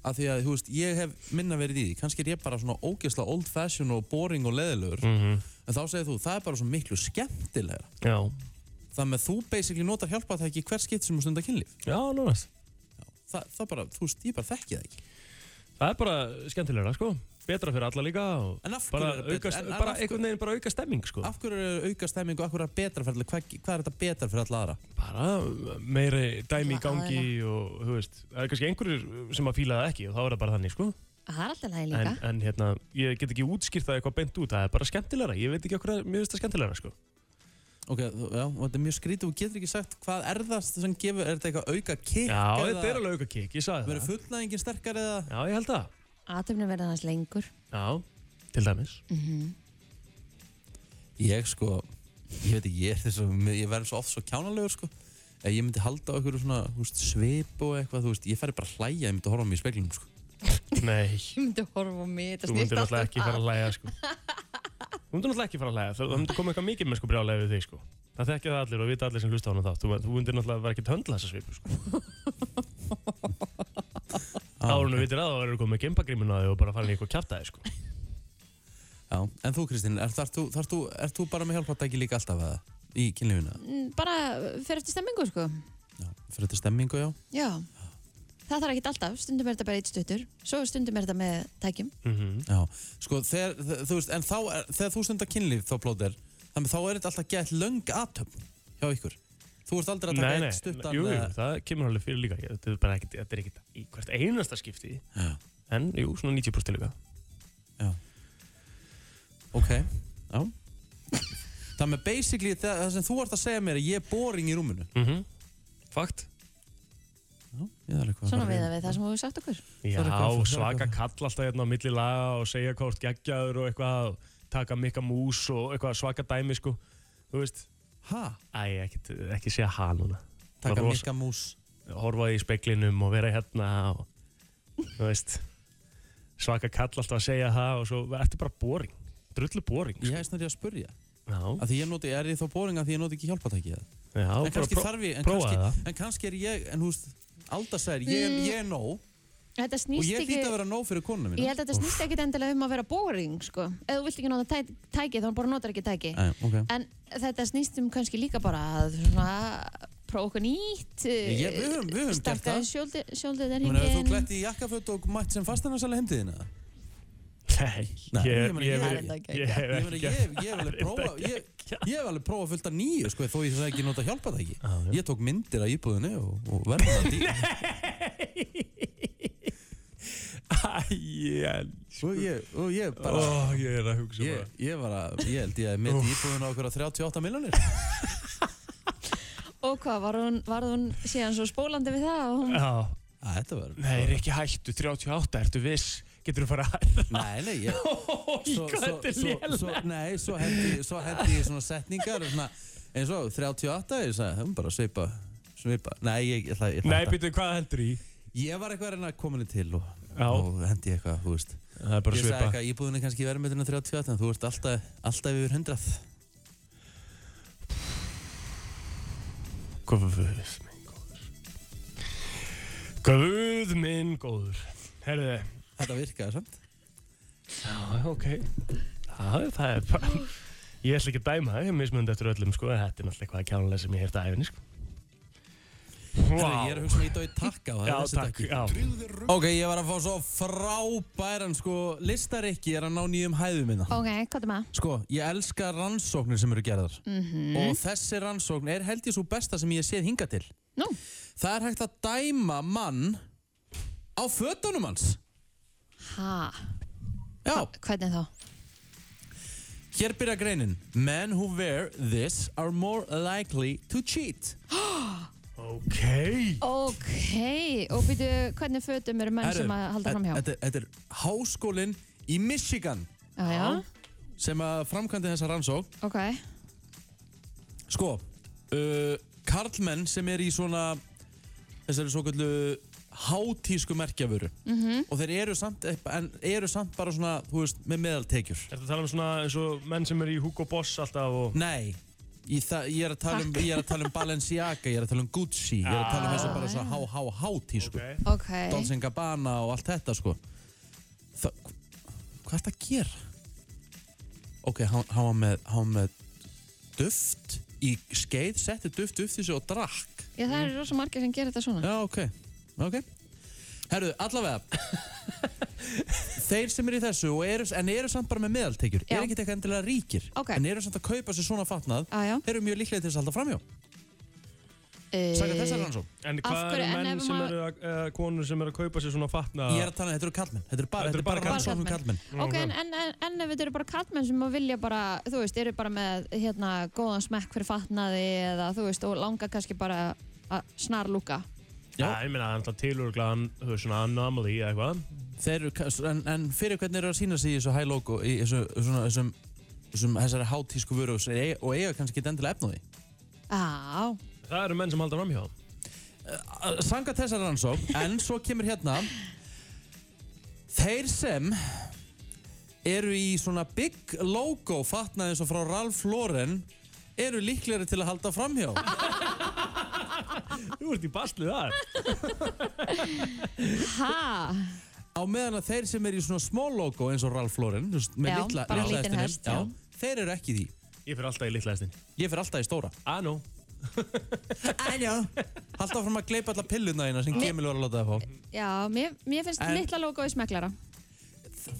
S2: að því að þú veist ég hef minna verið í því kannski er ég bara svona ógeðslega old fashion og boring og leðilegur
S3: Mhm.
S2: en þá segir þú það er bara svo miklu skemmtilegra
S3: Já,
S2: þannig að þú basically notar hjálpatæki hver skipt sem þú stundar kynlíf
S3: já, núna.
S2: það, það bara, þú veist, ég bara þekki það ekki
S3: Það er bara skemmtilegra, sko. Betra fyrir alla líka og
S2: En af hverju
S3: bara
S2: er betra-
S3: auka,
S2: en- en
S3: bara
S2: af hverju-
S3: einhvern veginn bara auka stemming, sko.
S2: Af hverju er auka stemming og af hverju er betra fyrir alla, hvað, hvað er þetta betra fyrir alla aðra?
S3: bara meiri dæmi í
S4: Alla
S3: gangi og þú veist, það er kannski einhverjir sem að fíla það ekki og þá er það bara þannig sko
S4: Það er alltaf lagi
S3: en,
S4: líka.
S3: en hérna, ég get ekki útskýrt það eitthvað beint út, það er bara skemmtilegra, ég veit ekki okkur að mér finnst það skemmtilegra sko
S2: Ok, þú- já, og þetta er mjög skrítið og getur ekki sagt hvað er það sem gefur, er þetta eitthvað auka kikk?
S3: Já, þetta er alveg auka kikk, ég sagði
S2: Verður
S3: það
S2: fullnæðingin sterkar eða?
S3: Já, ég held það,
S4: Atöfnum verða hans lengur.
S3: já, til dæmis
S2: Ég sko, ég veit ekki, ég er þess að ég verður svo oft svo kjánalegur sko Ef ég myndi halda á einhverju svona, þú veist, svip og eitthvað, þú veist, ég færi bara að hlæja, ég myndi horfa á mig í speglunum sko
S3: Nei,
S4: Ég myndi horfa á mig, þetta
S3: þú
S4: snýst
S3: myndir náttúrulega
S4: alltaf
S3: ekki fara að læja sko Þú myndir náttúrulega ekki fara að læja, það það myndi koma eitthvað mikið með sko brjálega við þig sko Það þekkja það allir og vita allir sem hlusta á hana þá Þú, þú myndir náttúrulega vera ekkert höndla þessa svipu sko Árunum vitir að það verður komið með gimpagrímuna og bara farin í eitthvað kjartaði sko
S2: Já, en þú Kristín, er, þar, þú, þar, þú, er þú bara með hjálpatæki líka alltaf eða? Í kynlífuna?
S4: Mm, Bara fyrir eftir stemmingu, sko.
S2: Já, fyrir þetta stemmingu, já
S4: Já. Það þarf ekki alltaf. Stundum er þetta bara eitt stuttur. Svo stundum er þetta með tækjum.
S3: Mhm.
S2: Já, sko, þegar, þ- þú veist, en þá, er- þegar þú stundar kynlíf þá plóðir, þannig þá er þetta alltaf gett löng aðtöfn hjá ykkur. Þú ert aldrei að taka
S3: Nei, nei,
S2: eitt stuttan...
S3: jú, jú,
S2: eða-
S3: það kemur alveg fyrir líka Ég- Þetta er bara ekkert, þetta er ekkert í hvert einasta skipti
S2: Já.
S3: En, jú, svona 90% líka
S2: Ok, já. Það með basically það, það sem þú ert að segja mér er ég er boring í rúminu.
S3: mm Fakt
S2: Já, ég þarf eitthvað
S4: Svona
S2: fara
S4: við
S2: í-
S4: að við það sem þú hefur sagt okkur.
S3: Já,
S2: er eitthvað- það er
S3: svaka
S2: eitthvað.
S3: kall alltaf hérna á milli laga og segja hvort geggjaður og eitthvað og taka mikka mús og eitthvað svaka dæmi sko Þú veist,
S2: Ha,
S3: æ, ekki, ekki segja ha núna
S2: taka
S3: Rosa.
S2: mikka mús.
S3: Horfa í speklinum og vera hérna og þú veist svaka kall alltaf að segja það og svo ertu bara boring, drullu boring
S2: Ég hefst næri að spurja
S3: Já,
S2: að því ég noti, er ég þá bóring að því ég noti ekki hjálpatækið
S3: já,
S2: en kannski
S3: pró-
S2: þarf ég, en
S3: prófaðu
S2: kannski, en kannski er ég en húst, Alda sagir, ég,
S4: Mm.
S2: ég er nóg
S4: Þetta
S2: og
S4: snýst
S2: ég
S4: ekki
S2: hlýt að vera nóg fyrir konuna
S4: Ég
S2: mína
S4: held að þetta snýst ekki endilega um að vera boring sko. Ef þú vilt ekki nota tæ, tæki þá bara notar ekki tæki
S2: Æ, okay.
S4: En þetta snýst um kannski líka bara að svona prófa okkur nýtt
S2: Ég- ég- við höfum- við höfum gert það.
S4: Startaði sjóldið
S2: Ég meina, hefur þú glætt í jakkaföt og mætt sem fastanarsæla heimtíðina?
S3: Nei,
S2: Nei,
S3: ég,
S2: ég meina,
S3: ég,
S2: ég-
S3: hef-
S4: Þetta er ekki
S3: ég hef
S2: Ég meina,
S3: ekki
S2: ég, ég hef alveg prófa ég, ég hef alveg prófa fullt að nýju sko, þó ég sagði ekki nota hjálpa það
S3: Já, já.
S2: ekki Ég tók myndir af íbúðinu og, og verður það dýr
S3: Æ, ég,
S2: og ég, og ég bara
S3: ó, ég er að hugsa
S2: Ég, ég var að, ég held ég að mitt íbúðinu á okkur að 38 miljonir
S4: Og hvað, var hún, var hún síðan svo spólandi við það og hún
S3: bara Já,
S2: Þetta var
S3: Nei, er ekki hættu, 38, ertu viss Getur þú fara að
S2: Nei, nei, ég svo,
S3: Þetta er
S2: svo, svo, Nei, svo hendi, svo hendi ég svona setningar svona, eins og 38 ég sagði, hún bara svipa svipa, nei, ég, ég, ég, ég,
S3: Nei, býttu, hvað heldur í?
S2: ég var eitthvað að reyna að koma henni til og,
S3: Já.
S2: og hendi ég eitthvað, þú veist
S3: Það er bara
S2: Ég sagði
S3: svipa
S2: eitthvað, íbúðin er kannski verðmyndin að 38 en þú ert alltaf, alltaf yfir 100
S3: Guð minn góður Guð minn góður Herðu,
S2: Þetta virkaði samt
S3: já, ok Já, það er bara Ég ætla ekki að dæma það, ég mismundi eftir öllum sko, en þetta er náttúrulega eitthvað kjánulega sem ég hef þetta æfinni sko.
S2: Herru,
S3: Vá.
S2: Ég er að hugsa mig í dói takka á það er
S3: Já,
S2: þessi
S3: takk,
S2: takki.
S3: já
S2: Ok, ég var að fá svo frábæran sko, listarikki er að ná nýjum hæðum minna
S4: Ok, hvað er maður?
S2: Sko, ég elska rannsóknir sem eru gerðar og þessi rannsókn er held ég svo besta sem ég hef séð hinga til.
S4: Nú,
S2: Það er hægt að dæma mann á fötunum hans.
S4: ha,
S2: Já,
S4: hvernig þá?
S2: hér byrja greinin. Men who wear this are more likely to cheat.
S3: Ok
S4: Ok, og býtu, hvernig fötum eru menn
S2: Herru,
S4: sem að halda fram hjá?
S2: Þetta þetta er háskólinn í Michigan
S4: Já, já,
S2: sem að framkvæmdi þessa rannsókn.
S4: ok,
S2: Sko, uh, karlmenn sem er í svona þessari svo kallu hátísku merkjavöru
S4: Mhm.
S2: -hmm. og þeir eru samt, en eru samt bara svona, þú veist, með meðaltekjur
S3: Ertu að tala um svona eins og menn sem eru í Hugo Boss alltaf og
S2: Nei, ég, þa- ég, er að tala um, ég er að tala um Balenciaga, ég er að tala um Gucci ég er að tala
S4: Ah.
S2: um þessu bara svona há, há, hátísku okay.
S4: ok
S2: Dolce Gabbana og allt þetta sko Þa, Hvað er þetta að gera? Ok, hann hann var með, hann var með duft í skeið, setti duft upp þessu og drakk
S4: Já, það eru rosa margir sem gerir þetta svona
S2: Já, ok, ok Herru, allavega Þeir sem eru í þessu og eru, en eru samt bara með meðaltekjur
S4: Já.
S2: eru ekkert eitthvað endilega ríkir
S4: Ok.
S2: en eru samt að kaupa sér svona fatnað
S4: Já, já
S2: þeir eru mjög líklega til þess að halda framjá Saka
S4: Eh,
S2: þessar rannsókn
S3: En
S4: Af
S3: hvað
S4: hverju-
S3: eru
S4: en
S3: menn
S4: ef
S3: sem
S4: maður-
S3: eru, að- eða konur sem eru að kaupa sér svona fatna
S2: Ég er að tala, um, þetta eru kallmenn Þetta eru bara,
S3: Eh. Þetta eru
S2: þetta er bara,
S3: bara
S2: bara rannsókn um kallmenn
S4: Ok, en, en, en, en ef þetta eru bara kallmenn sem að vilja bara, þú veist, eru bara með hérna góðan smekk fyrir fatnaði eða þú veist, og langa kannski bara að snarlúka.
S3: Já,
S2: Já.
S3: ég meina, það er alltaf tilurglaðan, þú veist, svona anomaly eða eitthvað.
S2: Þeir eru, ka- en, en fyrir hvernig eru að sína sig í þessu high logo í þessu, svona, þessum, þessum þessari hátísku vöru og eiga- og eiga kannski ekki endilega efnóði
S4: Á,
S3: Það eru menn sem halda fram hjá.
S2: Sanga þessar rannsók En svo kemur hérna Þeir sem eru í svona big logo fatnaði eins og frá Ralph Lauren eru líklegri til að halda framhjá
S3: Þú ert í baslið þar.
S4: ha,
S2: á meðan að þeir sem eru í svona small logo eins og Ralph Lauren þú veist, með
S4: Já,
S2: litla,
S4: bara
S2: litla
S4: lítinn
S2: hestinum,
S4: hest, já.
S2: já, þeir eru ekki í því
S3: Ég fyrir alltaf í litla hestin.
S2: ég fyrir alltaf í stóra
S3: Ah, no.
S2: halda fram að gleipa alla pilluna þína sem Gemil var að láta það fá
S4: já, mér, mér finnst
S2: En-
S4: litla logo í smeklara.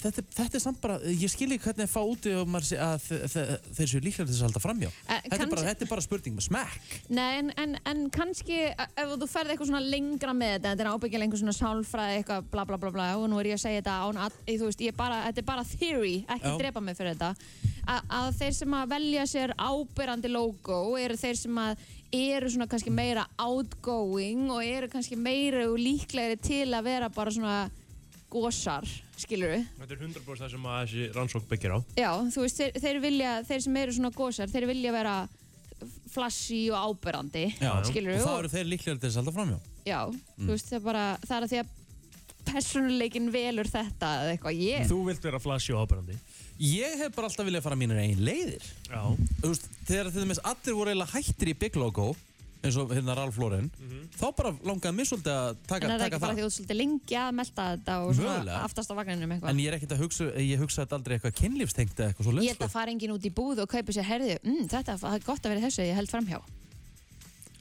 S2: þetta, þetta er samt bara, ég skil ekki hvernig að fá úti og maður sé að þe- þe- þeir séu líklegri til þess að halda framhjá
S4: Eh,
S2: þetta, er bara,
S4: kannski-
S2: þetta er bara spurning með smekk
S4: Nei, en, en, en kannski eh, ef þú ferð eitthvað svona lengra með þetta, þetta er ábyggilega einhver svona sálfræði eitthvað bla bla bla bla og nú er ég að segja þetta án að, eh, þú veist, ég er bara, þetta er bara theory, ekki
S2: Já.
S4: drepa mig fyrir þetta, A, að þeir sem að velja sér ábyrrandi logo eru þeir sem að eru svona kannski meira outgoing og eru kannski meira og líklegri til að vera bara svona gosar, skilur við?
S3: Þetta er 100% það sem að þessi rannsók byggir á.
S4: Já, þú veist, þeir, þeir vilja, þeir sem eru svona gósar, þeir vilja vera flashy og ábyrrandi,
S2: Já.
S4: skilur
S2: og þá eru þeir líklegri til þess að halda framhjá
S4: Já, þú veist það er bara, það er að því að persónuleikin velur þetta eða eitthvað ég
S3: Þú vilt vera flashy og ábærandi
S2: Ég hef bara alltaf viljað fara mínir eigin leiðir
S3: Já
S2: Þú veist, þegar til dæmis allir voru eiginlega hættir í Big Logo eins og hérna Ralf Lauren þá bara langaði mér svolítið að taka,
S4: en er það
S2: taka
S4: ekki bara því
S2: það
S4: þú ert svolítið lengi að melta þetta og svona
S2: Mögulega.
S4: aftast á vagninum
S2: En
S4: eitthvað
S2: ég er ekkert að hugsa, ég hugsa þetta aldrei eitthvað kynlífstengt eða eitthvað sko. svo
S4: ég held að fara enginn út í búð og kaupa sér herði mm, þetta það er gott að vera í þessu ég held framhjá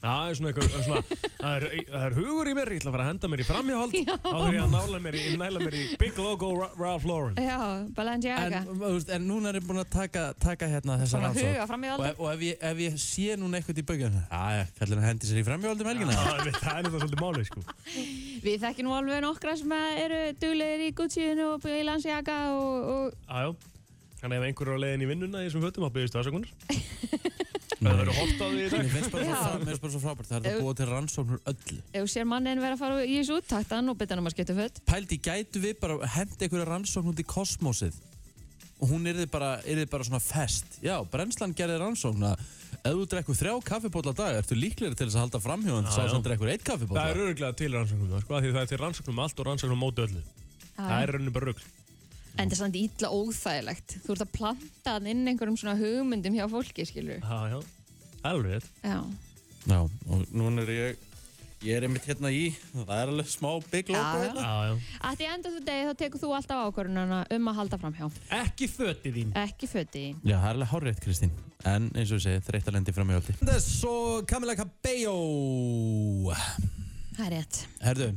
S3: Það er svona eitthvað, svona, það er, það er hugur í mér, ég ætla að fara að henda mér í framhjáhald
S4: Já.
S3: áður ég að nála mér í, næla mér í Big Logo Ra- Ralph Lauren.
S4: já, Balenciaga
S2: En, þú veist, en núna er ég búin að taka, taka hérna þessa
S4: svona
S2: rannsók
S4: huga
S2: og,
S4: framhjá
S2: ef- og ef, ég, ef ég sé núna eitthvað í bögjum aðja, kallin hendi sér í framjóldum helgina
S3: Það er það er þetta svolítið málið, sko.
S4: við þekkjum nú alveg nokkra sem að eru duglegir í Gucci-inu og Balenciaga og, og
S3: Jájá. Þannig ef einhver er á leiðin í vinnuna í þessum fötum, þá byrjist afsökunar. Það verður hort á því í dag.
S2: Mér finnst bara svo
S4: Já.
S2: frá- mér finnst bara svo frábært það er hægt að búa til rannsóknur öllu
S4: ef þú sér mannin vera að fara í þessu úttakt að nú betur hann um að skipta föt
S2: Pældi, gætu við bara hendi einhverja rannsókn út í kosmosið og hún yrði bara, yrði bara svona fest Já, brennslan gerði rannsókn að ef þú drekkur þrjá kaffibóla dag ertu líklegri til þess að halda framhjóðan
S3: Já,
S2: sá
S3: já.
S2: sem drekkur eitt kaffibóla
S3: Það er öruglega til rannsóknum, það, sko, af því það er til rannsóknum um allt og rannsóknum á móti öllu. Það er rauninu bara rugl.
S4: en það er samt ítla óþægilegt þú ert að planta þann inn einhverjum svona hugmyndum hjá fólki skilur
S3: Jájá. Það er alveg rétt.
S4: já,
S2: Já, og núna er ég ég er einmitt hérna í það er alveg smá big
S4: Já,
S2: logo
S4: já.
S2: hérna.
S3: Jájá.
S4: að því enda þú degi þá tekur þú alltaf ákvörununa um að halda framhjá
S3: Ekki fötið þín.
S4: ekki föti í
S2: Já, það er alveg hárétt Kristín en eins og ég segi, þreytt að lendi framhjóðaldi Þess og Camila Cabello
S4: það er rétt
S2: Herðu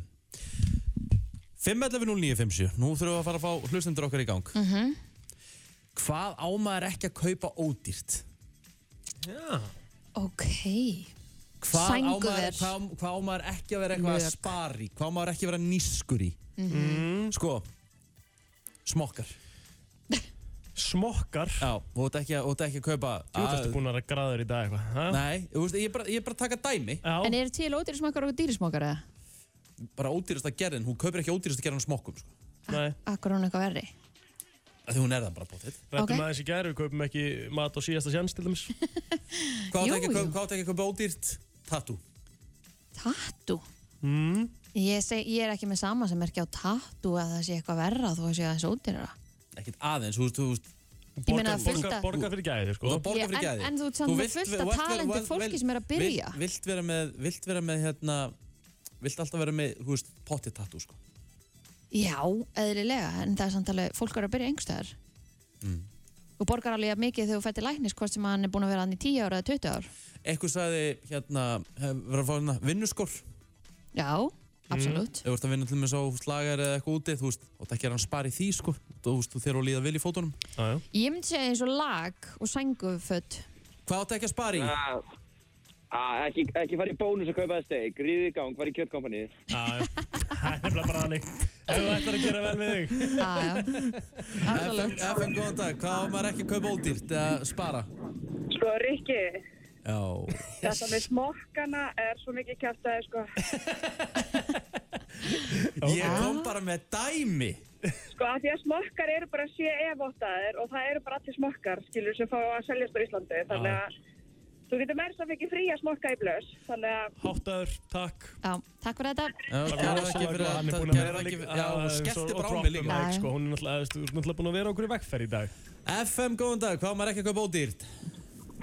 S2: 5.11.09.50 Nú þurfum við að fara að fá hlustendur okkar í gang -hmm. Hvað á maður ekki að kaupa ódýrt?
S3: Já.
S4: ok
S2: Hvað á,
S4: Sængu
S2: maður,
S4: þér.
S2: hvað, hvað á maður ekki að vera eitthvað að
S4: Mök.
S2: spari? Hvað á maður ekki að vera nýskur í?
S3: Mm.
S2: Sko Smokkar
S3: Smokkar.
S2: Já, og þú ert ekki, að- þú ert ekki að kaupa
S3: Þú ert búin að vera graður í dag eitthvað. ha?
S2: Nei, þú veist, ég er bara, ég er bara að taka dæmi
S4: en
S3: Já.
S4: eru til ódýrismakar og dýrismakar eða?
S2: Bara ódýrasta gerðin, hún kaupir ekki ódýrasta gerðin á smokkum sko.
S3: Nei.
S4: akkur hún eitthvað verri
S2: Af Því hún er það bara bótt
S3: Rættum
S4: Ah, Ok.
S3: aðeins í gæri, við kaupum ekki mat á síðasta sjans til dæmis.
S2: Hvað átt
S4: Jú,
S2: ekki, að kaup-
S4: jú.
S2: hvað áttu ekki að kaupa ódýrt? Tattoo
S4: tattu Hmm? ég, seg, ég er ekki með sama sem er ekki á tattu að það sé eitthvað verra þó að sé að þessi ódýrara
S2: Ekkert aðeins, þú veist, þú veist
S4: Ég meina,
S3: Borga-
S4: fullt
S3: borga-
S4: af-
S3: Borga fyrir gæði,
S2: Þú
S3: sko.
S2: þarf að borga
S4: Ég-
S2: fyrir
S4: en-
S2: gæði
S4: en þú ert samt með fullt af talenti fólki sem er að byrja.
S2: vilt, vilt vera með, vilt vera með hérna Vilt alltaf vera með, þú veist, potið tattoo sko.
S4: já, eðlilega, en það er samt alveg fólk er að byrja einhverstaðar mm. þú borgar alveg jafn mikið þegar þú fættir læknis hvort sem hann er búin að vera hann í 10 ára eða 20 ár
S2: Eitthvað sagði, hérna, hef- verður að fá hérna vinnuskor Ef
S4: já, Hmm. absolutt
S2: þú ert að vinna til með svo slagar eða eitthvað úti Þú veist, og það gerir hann spari því, sko Þú veist, þú þér að líða vel í fótunum
S3: Já, já.
S4: ég myndi segja eins og lag og sænguföt
S2: Hvað áttu ekki að spara í?
S7: Ah, ah, ekki, ekki fara í bónus að kaupa það steik, ríði í gang, fara í kjöttkompanið.
S3: Já, já. Það er nefnilega bara þannig. Ef þú ætlar að gera vel við þig.
S4: aðja,
S2: FM,
S4: absolutt
S2: FM, góðan dag, hvað á maður ekki að kaupa ódýrt eða spara?
S8: Sko, Rikki,
S2: Já,
S8: þetta með smokkana er svo mikið kæft að sko.
S2: ég kom bara með dæmi
S8: Sko, af því að smokkar eru bara CE-vottaðir og það eru bara allir smokkar, skilur, sem fá að seljast á Íslandi. Þannig að þú getur meðs að fengið fría smokka í blöss. Þannig að
S3: Háttaður, takk.
S4: já, takk fyrir þetta
S2: Já,
S3: Það
S2: gerðu
S3: var
S2: ekki
S3: rosalega
S2: fyrir
S3: góð, hann
S2: að
S3: er búin að
S2: gerðu
S3: vera
S2: ekki
S3: líka-
S2: fyrir Já,
S3: að-
S2: hún
S3: svo-
S2: skellti
S3: og
S2: bara á
S3: droppum
S2: mig líka
S4: Já,
S3: mic,
S4: já.
S3: sko. Hún er náttúrulega þú ert náttúrulega búin að vera okkur í vegferð í dag.
S2: FM, góðan dag, hvað á maður ekki að kaupa ódýrt?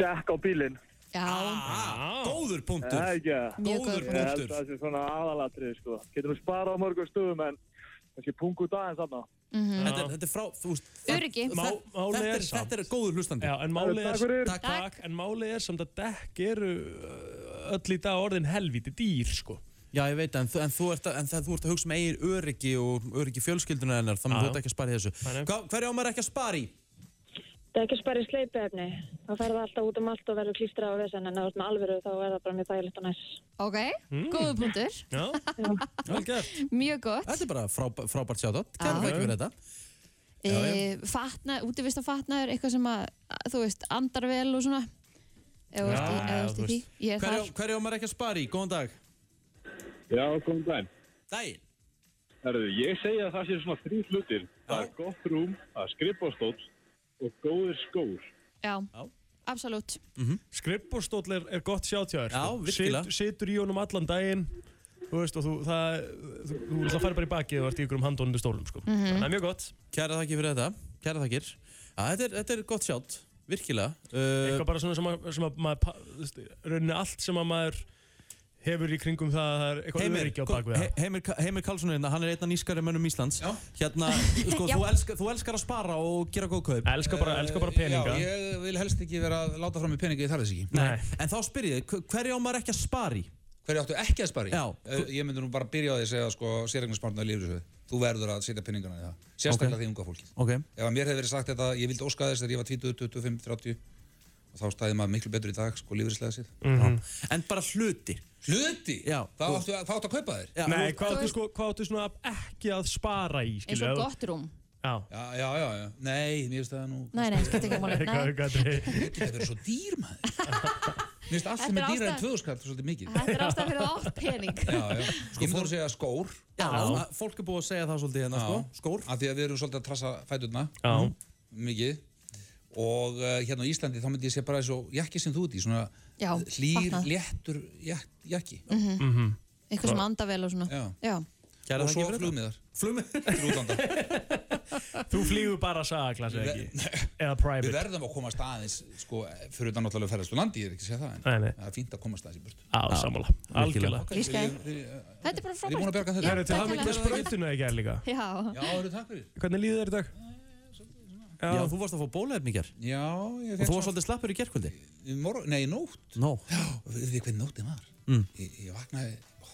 S5: Dekk á bílinn.
S4: já,
S3: Já.
S2: Ah, Góður
S5: Það
S2: punktur
S5: er ekki það.
S4: mjög
S2: góður
S4: góð
S5: Ég held
S2: Punktur.
S5: að það sé svona aðalatrið, sko. Getur nú sparað á mörgum stöðum, en kannski pungu daginn þarna.
S2: Þetta er, þetta er frá, þú veist
S4: Mm. Öryggi.
S2: þetta-
S4: Má-
S3: málið
S2: þetta,
S3: er
S2: er,
S3: samt.
S2: þetta er góður hlustandi
S3: Já, en málið er,
S5: Takk fyrir.
S3: takk, takk, en málið er samt að dekk eru uh, öll í dag orðin helvíti dýr, sko.
S2: Já, ég veit, en, þú- en, þú, ert að, en það, þú ert að hugsa um eigin öryggi og öryggi fjölskylduna hennar þannig að
S3: Já.
S2: þú ert ekki að spara í þessu
S3: Þannig.
S2: Hva, Hverju á maður ekki að spara í?
S8: það er ekki spara í sleipefni. Þá fer það alltaf út um allt og verður klístrað á vesen, en ef þú ert með alvöru þá er það bara mjög þægilegt og næs.
S4: ok, góðu punktur
S3: Já, vel gert.
S4: mjög gott
S2: Þetta er bara frá, frábært sjátt Kæra þakki fyrir þetta
S4: e, fatna, útivist fatnaður eitthvað sem að, þú veist, andar vel og svona ef þú
S3: Já,
S4: veist, í- ef
S3: já,
S4: þú veist
S3: þú
S4: í því ég er
S2: Hverju
S4: þar,
S2: hverju á maður ekki að spara í? Góðan dag
S9: Já, komum dæn.
S2: Dæin
S9: Herðu, ég segja að það sé svona þrjú hlutir. Það er gott rúm, það er skrifbóðstóll og góðir skór.
S4: já,
S2: Já.
S4: absolutt
S3: Skrippbórstóll er, er gott sjátjáður,
S2: Já, virkilega.
S3: Situr í honum allan daginn, þú veist, og þú, það, þú, þú, þú fær bara í bakið og ert í ykkur um handónundu stólum, sko.
S4: Mhm.
S3: Þannig að það er mjög gott.
S2: Kæra þakkir fyrir þetta. Kæra þakkir. Ja, þetta, er, þetta er gott sjátt, virkilega. Uh,
S3: Eitthvað bara svona sem að, sem að maður, pa- þú veist, rauninni allt sem að maður hefur í kringum það, að það er eitthvað
S2: Heimir,
S3: öryggi á
S2: kom-
S3: bakvið það.
S2: He- Heimir, Ka- Heimir Karlsson hérna, hann er einn af nýskari mönnum Íslands. Hérna, sko,
S10: Já.
S2: þú, elskar, þú elskar að spara og gera góð kaup.
S3: Elskar bara, elskar
S2: Eh,
S3: bara peninga.
S10: Já, ég vil helst ekki vera að láta fram með peninga, ég þarf þess ekki.
S3: Nei.
S2: En þá spyr ég, þig, hver- hverju á maður ekki að spara í?
S10: Hverju áttu ekki að spara í?
S2: Já.
S10: Eh, Ég myndi nú bara byrja á því að segja sko, sérregnarspartnaði lífrisöðu. Þú verður að setja peningana í það. Sérstaklega
S2: Ok.
S10: því unga fólki.
S2: Ok.
S10: Ef að mér hefði verið sagt þetta, ég vildi óska þess þegar ég var 20, 25, 30 og þá stæði maður miklu betur í dag, sko, lífrislega sér.
S2: Já. En bara hluti.
S10: Hluti?
S2: Já.
S10: Þá
S2: Þú-
S10: áttu, þá áttu að kaupa þér?
S2: Já,
S3: Nei,
S2: þú-
S3: hvað
S4: þú
S3: áttu,
S4: veist-
S3: sko, hvað áttu svona að ekki að spara í,
S4: eins
S3: skilja?
S4: og gott rúm
S3: Já.
S10: Já, já, já, já. Nei, mér finnst það nú...
S4: Nei, nei, skipt ekki máli
S3: Eitthvað,
S4: Nei,
S3: eitthvað, eitthvað.
S10: Þetta verður svo dýr, maður. Mér finnst allt
S4: Þetta
S10: sem
S4: er
S10: er dýra en
S4: ástæðan.
S10: tvöðuskall svolítið mikið.
S4: Þetta er ástæðan fyrir að átt pening
S10: Já, já. Ég myndi Sko, að segja skór,
S2: Já, að fólk er búið að segja það svolítið hérna,
S10: Já.
S2: sko. Skór.
S10: af því að við erum svolítið að trassa fæturna. Mhm.
S3: Já.
S10: mikið og uh, hérna á Íslandi þá myndi ég segja bara þessu jakki sem þú ert í, svona
S4: Já,
S10: hlýr,
S4: fatnað.
S10: léttur jak, jakki
S4: Eitthvað sem anda vel og svona
S10: Já.
S4: Já.
S2: Kæra
S10: og
S2: þakkir
S10: svo
S2: fyrir þetta.
S10: flugmiðar
S2: Flugmi.
S10: til útlanda.
S3: Þú flýgur bara sagaklassi,
S10: Við-
S3: ekki? Eða
S10: Við
S3: private?
S10: verðum að komast aðeins sko, fyrir utan náttúrulega ferðast úr landi, ég er ekki að segja það en
S3: Nei, nei.
S10: það er fínt að komast aðeins í burt
S3: Á, sammála. Algjörlega.
S4: Líska,
S10: Er
S4: þetta er bara
S10: ég búin að
S4: frábært
S10: berga þetta?
S3: Það eru til
S4: Takk
S3: hafa
S4: hérlega
S3: mikið sprautuna í gær líka.
S4: Já,
S10: Já, það eru takk fyrir
S3: Hvernig líður þér í dag? Já,
S2: Já, þú varst að fá bólaefni í gær.
S10: Já, ég
S2: Og
S10: fekk
S2: þú var svolítið slappur í gerkvöldi.
S10: í morgun, nei, í nótt
S2: Nó.
S10: og við við hvernig nóttin var mm. ég, ég vaknaði, ó,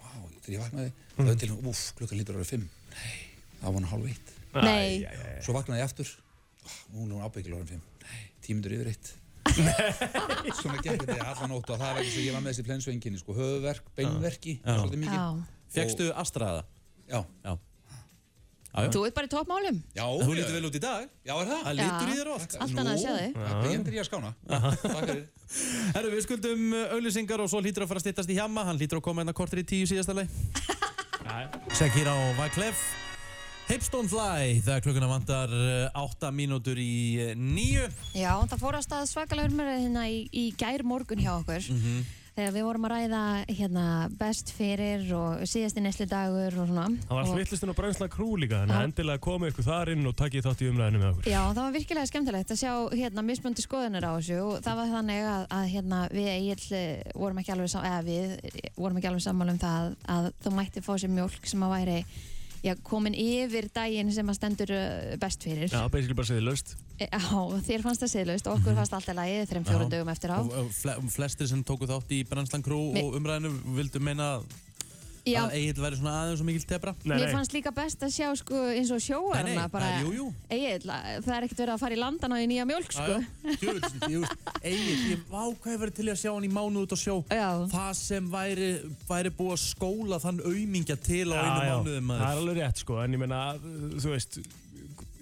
S10: vá, þegar ég
S2: Mm.
S10: vaknaði það var til, úf, klukkan lítur árið fimm Nei, það var hann hálf eitt
S4: nei
S10: Svo vaknaði ég aftur Ó, Nú er hún ábyggilega orðin fimm Nei, tímindur yfir eitt Svona gekk þetta í alla nótt og það var ekki svo ég var með þessi plensveinkinni sko, höfuverk, beinverki, svolítið mikið
S4: Já.
S2: Fegstu astraða?
S10: Já,
S2: Já. Já, já.
S4: Þú ert bara í toppmálum
S10: já,
S2: Þú lítið vel út í dag.
S10: Já, er það?
S2: Það lítur í þér oft.
S4: Allt annað að sjá þig.
S10: Ég endur ég að skána Takk fyrir
S2: Herru, við skuldum auðlýsingar og svo hlýtur að fara að stýttast í hjama. Hann hlýtur að koma hérna kortir í tíu síðasta leið. Shakira og Wyclef. Hips don't fly. Það klukkuna vantar 8 mínútur í uh, 9.
S4: Já, það fór að stað svakalega umræðið hérna í, í gær morgun hjá okkur þegar við vorum að ræða hérna, best fyrir og síðasti nesli dagur og svona
S3: Það var
S4: og,
S3: svittlistin og brennsla krú líka, þannig að endilega komið ykkur þar inn og takkið þátt í umræðinu með okkur.
S4: Já, það var virkilega skemmtilegt að sjá hérna, mismöndi skoðunar á þessu og það var þannig að, að hérna, við Egil vorum ekki alveg, sam- eða, við, eh, vorum ekki alveg sammála um það að þú mætti fá sér mjólk sem að væri já, komin yfir daginn sem að stendur eh, best fyrir
S3: Já, basically bara segðið löst.
S4: Eh, Já, þér fannst það siðlaust, okkur fannst alltaf lægið þreim fjórum dögum eftir á
S2: Og, uh, fle flestir sem tóku þátt í Brennslan Crew
S4: Mi-
S2: og umræðinu vildu meina að-
S4: Já,
S2: að Egil væri svona aðeins og mikil tebra.
S3: Nei,
S4: Mér
S3: nei,
S4: fannst líka best að sjá sko, eins og sjóarna
S2: Nei, nei,
S4: bara,
S2: það er- jú, jú.
S4: Egill, að- það er ekkert verið að fara í landan á í nýja mjölk sko.
S2: Júl, Egil, ég vákvæði verið til í að sjá hann í mánu út á sjó.
S4: Já.
S2: Það sem væri, væri búið að skóla þann aumingja til á
S3: Já,
S2: einu
S3: já,
S2: mánuði maður.
S3: Það er alveg rétt sko, en ég meina, þú veist,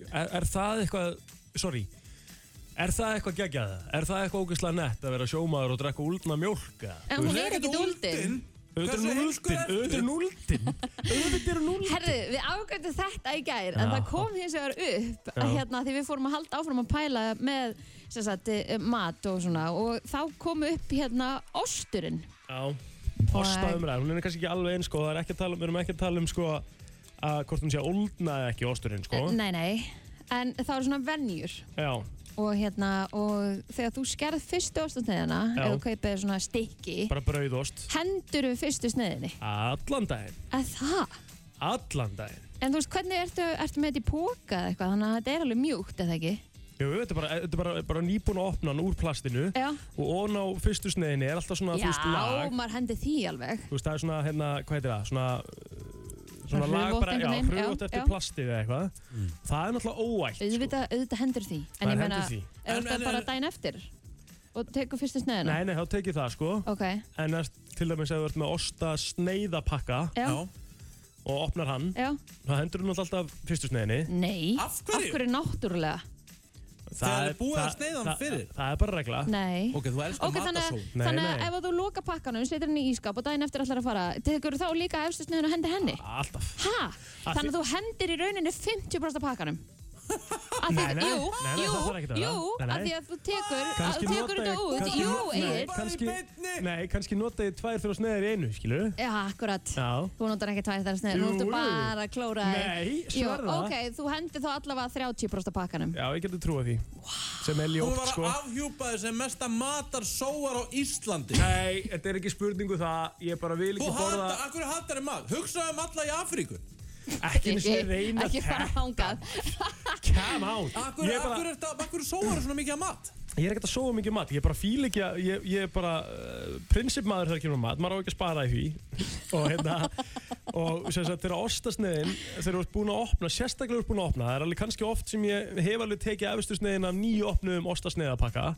S3: er, er það eitthvað, sorry, er það eitthvað geggjað? Er það eitthvað ógeðslega nett að vera sjómaður og drekka úldna mjólk? eða?
S4: En
S3: Þú
S4: hún
S3: veist,
S4: er ekkert úldin
S3: Auðvitað
S2: Hversu
S3: er
S2: heimskur
S3: núldin,
S2: ertu?
S3: auðvitað er núldin, auðvitað er núldin.
S4: Herðu, við ágættum þetta í gær en
S3: Já.
S4: það kom hins vegar upp að
S3: Já.
S4: hérna, því við fórum að halda áfram að pæla með sem sagt, eh, mat og svona og þá kom upp hérna osturinn
S3: Já, hosta umræðar, hún er kannski ekki alveg eins sko, það er ekki að tala um, við erum ekki að tala um sko að hvort hún sé að úldna eða ekki osturinn sko.
S4: Eh, Nei, nei, en það eru svona venjur
S3: Já,
S4: og, hérna, og þegar þú skerð fyrstu ostasneiðina
S3: Já.
S4: ef þú kaupir svona stykki
S3: bara brauðost.
S4: hendur við fyrstu sneiðinni
S3: Allan daginn,
S4: að það
S3: allan daginn.
S4: En þú veist, hvernig ertu, ertu með þetta í póka eða eitthvað, þannig að þetta er alveg mjúkt, eða ekki?
S3: Jú, þetta er bara, þetta er bara, bara nýbúin að opna hann úr plastinu
S4: Já.
S3: og ofan á fyrstu sneiðinni er alltaf svona, þú veist, lag.
S4: maður hendi því alveg.
S3: Þú veist, það er svona, hérna, hvað heitir það? Svona, uh, svona lag
S4: hrufótt
S3: bara, já,
S4: einhvern veginn, já,
S3: hrjótt
S4: já.
S3: eftir plastið eða eitthvað. Það er náttúrulega óætt, sko.
S4: Auðvitað, auðvitað hendur því. En
S3: Maður
S4: ég meina,
S3: hendir því.
S4: ef þú ert bara dæn eftir og tekur fyrstu sneiðina?
S3: Nei, nei, þá tekið það, sko.
S4: Ok,
S3: En er, til dæmis ef þú ert með osta sneiðapakka
S4: já,
S2: Já.
S3: og opnar hann,
S4: já.
S3: þá hendur þú náttúrulega alltaf fyrstu sneiðinni.
S4: Nei.
S2: Af hverju?
S4: Af hverju náttúrulega?
S2: Þegar er búið að sneiða hann
S3: það-
S2: fyrir?
S3: Það er bara regla.
S4: Nei.
S2: Ok, þú elskar
S4: Ok, þannig,
S2: matasól.
S4: að-
S3: Nei,
S4: þannig að
S3: nei.
S4: ef að þú loka pakkanum, setur hann í ískap og daginn eftir ætlar að fara, tekur þá líka efstu sneiðin og hendir henni?
S3: Alltaf.
S4: Ha?
S3: Af
S4: Þannig að þú hendir í rauninni 50% af pakkanum? Af því
S3: Nei,
S4: að-
S3: nei,
S4: Jú,
S3: nei, nei,
S4: jú,
S3: það þarf ekki að vera.
S4: jú,
S3: Nei, nei.
S4: af því að þú tekur, að
S3: Kannski
S4: þú tekur
S3: nota
S4: þetta
S3: ég-
S4: út,
S3: kannski-
S4: jú,
S3: nei,
S4: Egil.
S3: kannski, nei, kannski nota ég tvær þrjá sneiðar í einu, skilur
S4: Já, akkurat.
S3: Já.
S4: Þú notar ekki tvær þar snið,
S3: Jú,
S4: þú ertu
S3: jú.
S4: bara að klóra þér.
S3: Nei, sverða.
S4: Jú, ok, þú hendir þá allavega 30% af pakkanum.
S3: Já, ég getur trúið því sem er
S2: Þú
S3: ljótt,
S2: var
S3: sko
S2: að afhjúpaði sem mesta matar sóar á Íslandi
S3: Nei, þetta er ekki spurningu það Ég bara vil
S2: Þú
S3: ekki
S2: hata,
S3: borða
S2: af hverju hatar þið mat? Hugsaðu um alla í Afríku
S3: Ekki einu sinni
S4: Ég-
S3: reyna
S4: Ekki fara
S3: þetta.
S4: þangað.
S3: Come on
S2: Af hverju,
S3: Ég
S2: af
S3: bara-
S2: hverju, ertu- af hverju sóar svona mikið af mat?
S3: Ég er ekkert að sóa mikið um mat, ég bara fíl ekki að, ég, ég er bara uh, prinsipmaður þegar kemur að mat, maður á ekki að spara í því og hérna, og sem sagt þegar ostasneiðin, þegar þú ert búin að opna, sérstaklega þú ert búin að opna, það er alveg kannski oft sem ég hef alveg tekið efstu sneiðin af nýju opnum ostasneiðapakka,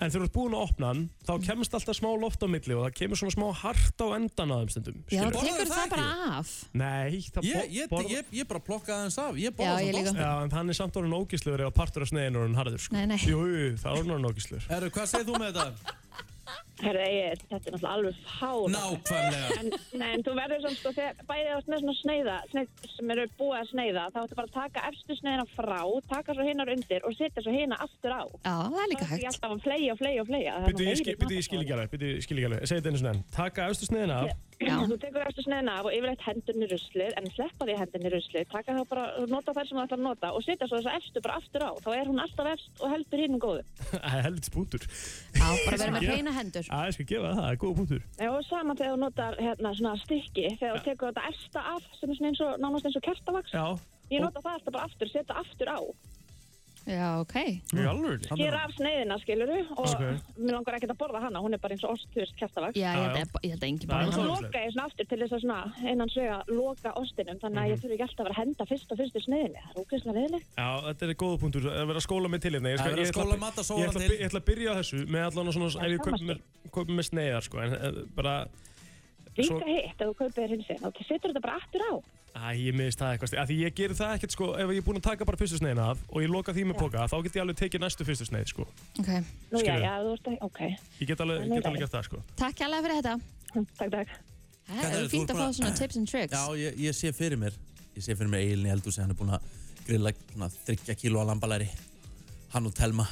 S3: en þegar þú ert búin að opna hann, þá kemst alltaf smá loft á milli og það kemur svona smá hart á endan að þeim
S4: Já,
S3: stundum, skilurðu?
S4: þú tekur
S2: það
S4: það
S2: ekki?
S4: bara af.
S3: Nei, það
S2: Ég, ég,
S3: borða-
S2: ég, ég bara plokkaði hans af Ég
S4: Já,
S2: borða
S4: ég
S2: svona
S4: líka.
S2: lost
S3: Já, en hann er samt orðin ógísluður ef að partur af sneiðin er orðin harður, sko.
S4: Nei, nei.
S3: Jú, jú, það er orðin ógísluður.
S2: Herru, hvað segir þú með þetta?
S8: Herra, ég, þetta er náttúrulega alveg fár.
S2: Nákvæmlega
S8: En, nei, en þú verður samt sko, þegar bæðið ást með svona sneiða, sneið sem eru búið að sneiða, þá ættu bara að taka efstu sneiðina frá, taka svo hinnar undir og setja svo hinna aftur á.
S4: Já, það er líka
S8: Ég
S4: hægt.
S8: alltaf að fleia og fleia og fleia. Það er
S3: Byrju,
S8: nú
S3: ég, skil,
S8: meiri
S3: byrju, ég skil ekki alveg, byrju, ég skil ekki alveg. Segðu þetta einu svona enn. Taka austu sneiðina af.
S4: Já.
S8: Þú tekur eftir sneiðina af og yfirleitt hendurni ruslið, en sleppa því hendurni ruslið, taka þá bara, nota þær sem þú ætlar að nota og setja svo þessa efstu bara aftur á. Þá er hún alltaf efst og heldur hinnum góðu.
S3: Helvits punktur.
S4: Já, bara vera með hreina hendur.
S3: Já, ég skal gefa það, það er góð punktur.
S8: Já, og sama þegar þú notar hérna svona stykki, þegar þú tekur þetta efsta af, sem er svona eins og, nánast eins og kertavaks.
S3: Já.
S8: Ég nota það alltaf bara aftur, setja aftur á.
S4: Já, ok.
S3: Í alveg.
S8: Gera af sneiðina, skilur og
S3: Ok.
S8: mér langar ekkert að borða hana, hún er bara eins og ost, þú veist, kertavaks.
S4: Já, ég held
S3: Já, já.
S4: að- ég held að engin
S3: Það er
S4: bara
S8: Svo
S3: náttúrulega-
S4: hann.
S8: loka ég svona aftur til þess að svona innan sögja loka ostinum þannig að
S3: Mhm.
S8: ég þurfi ekki alltaf að vera að henda fyrst og fyrst í sneiðinni. Það er ógeðslega leðilegt.
S3: Já, þetta er góð punktur. Það er verið að skóla mig til hérna. Ég
S2: Það er verið að
S3: ég ætla
S2: skóla mat að sóa
S3: ég ætla
S2: til.
S3: by- Ég ætla að byrja á þessu með allan svona, ef ég kaupi mér, kaupi mér sneiðar, sko. En eh, bara,
S8: Líka
S3: Svo-
S8: hitt ef þú kaupir þér hins veginn, þá setur þetta bara aftur á.
S3: Æ, ég miðist það eitthvað. Af því ég gerir það ekkert, sko, ef ég er búinn að taka bara fyrstu sneiðina af og ég loka því með póka, þá get ég alveg tekið næstu fyrstu sneið, sko.
S4: Ok,
S8: Nú já,
S3: Skilurðu?
S8: já, þú veist ekki, ok.
S3: Ég get alveg,
S8: Nei,
S3: get
S8: nei.
S3: alveg gert það, sko.
S4: takk hérlega fyrir þetta.
S8: Takk, takk.
S4: Það
S2: Katrín,
S4: er
S2: þú
S4: fínt
S2: ert
S4: að
S2: búin
S4: fá
S2: að-
S4: svona tips and tricks.
S2: Já, ég, ég sé fyrir mér Ég sé fyrir mér Egilin í eldhúsi Hann er búinn að grilla svona 30 kíló að lambalæri Hann og Telma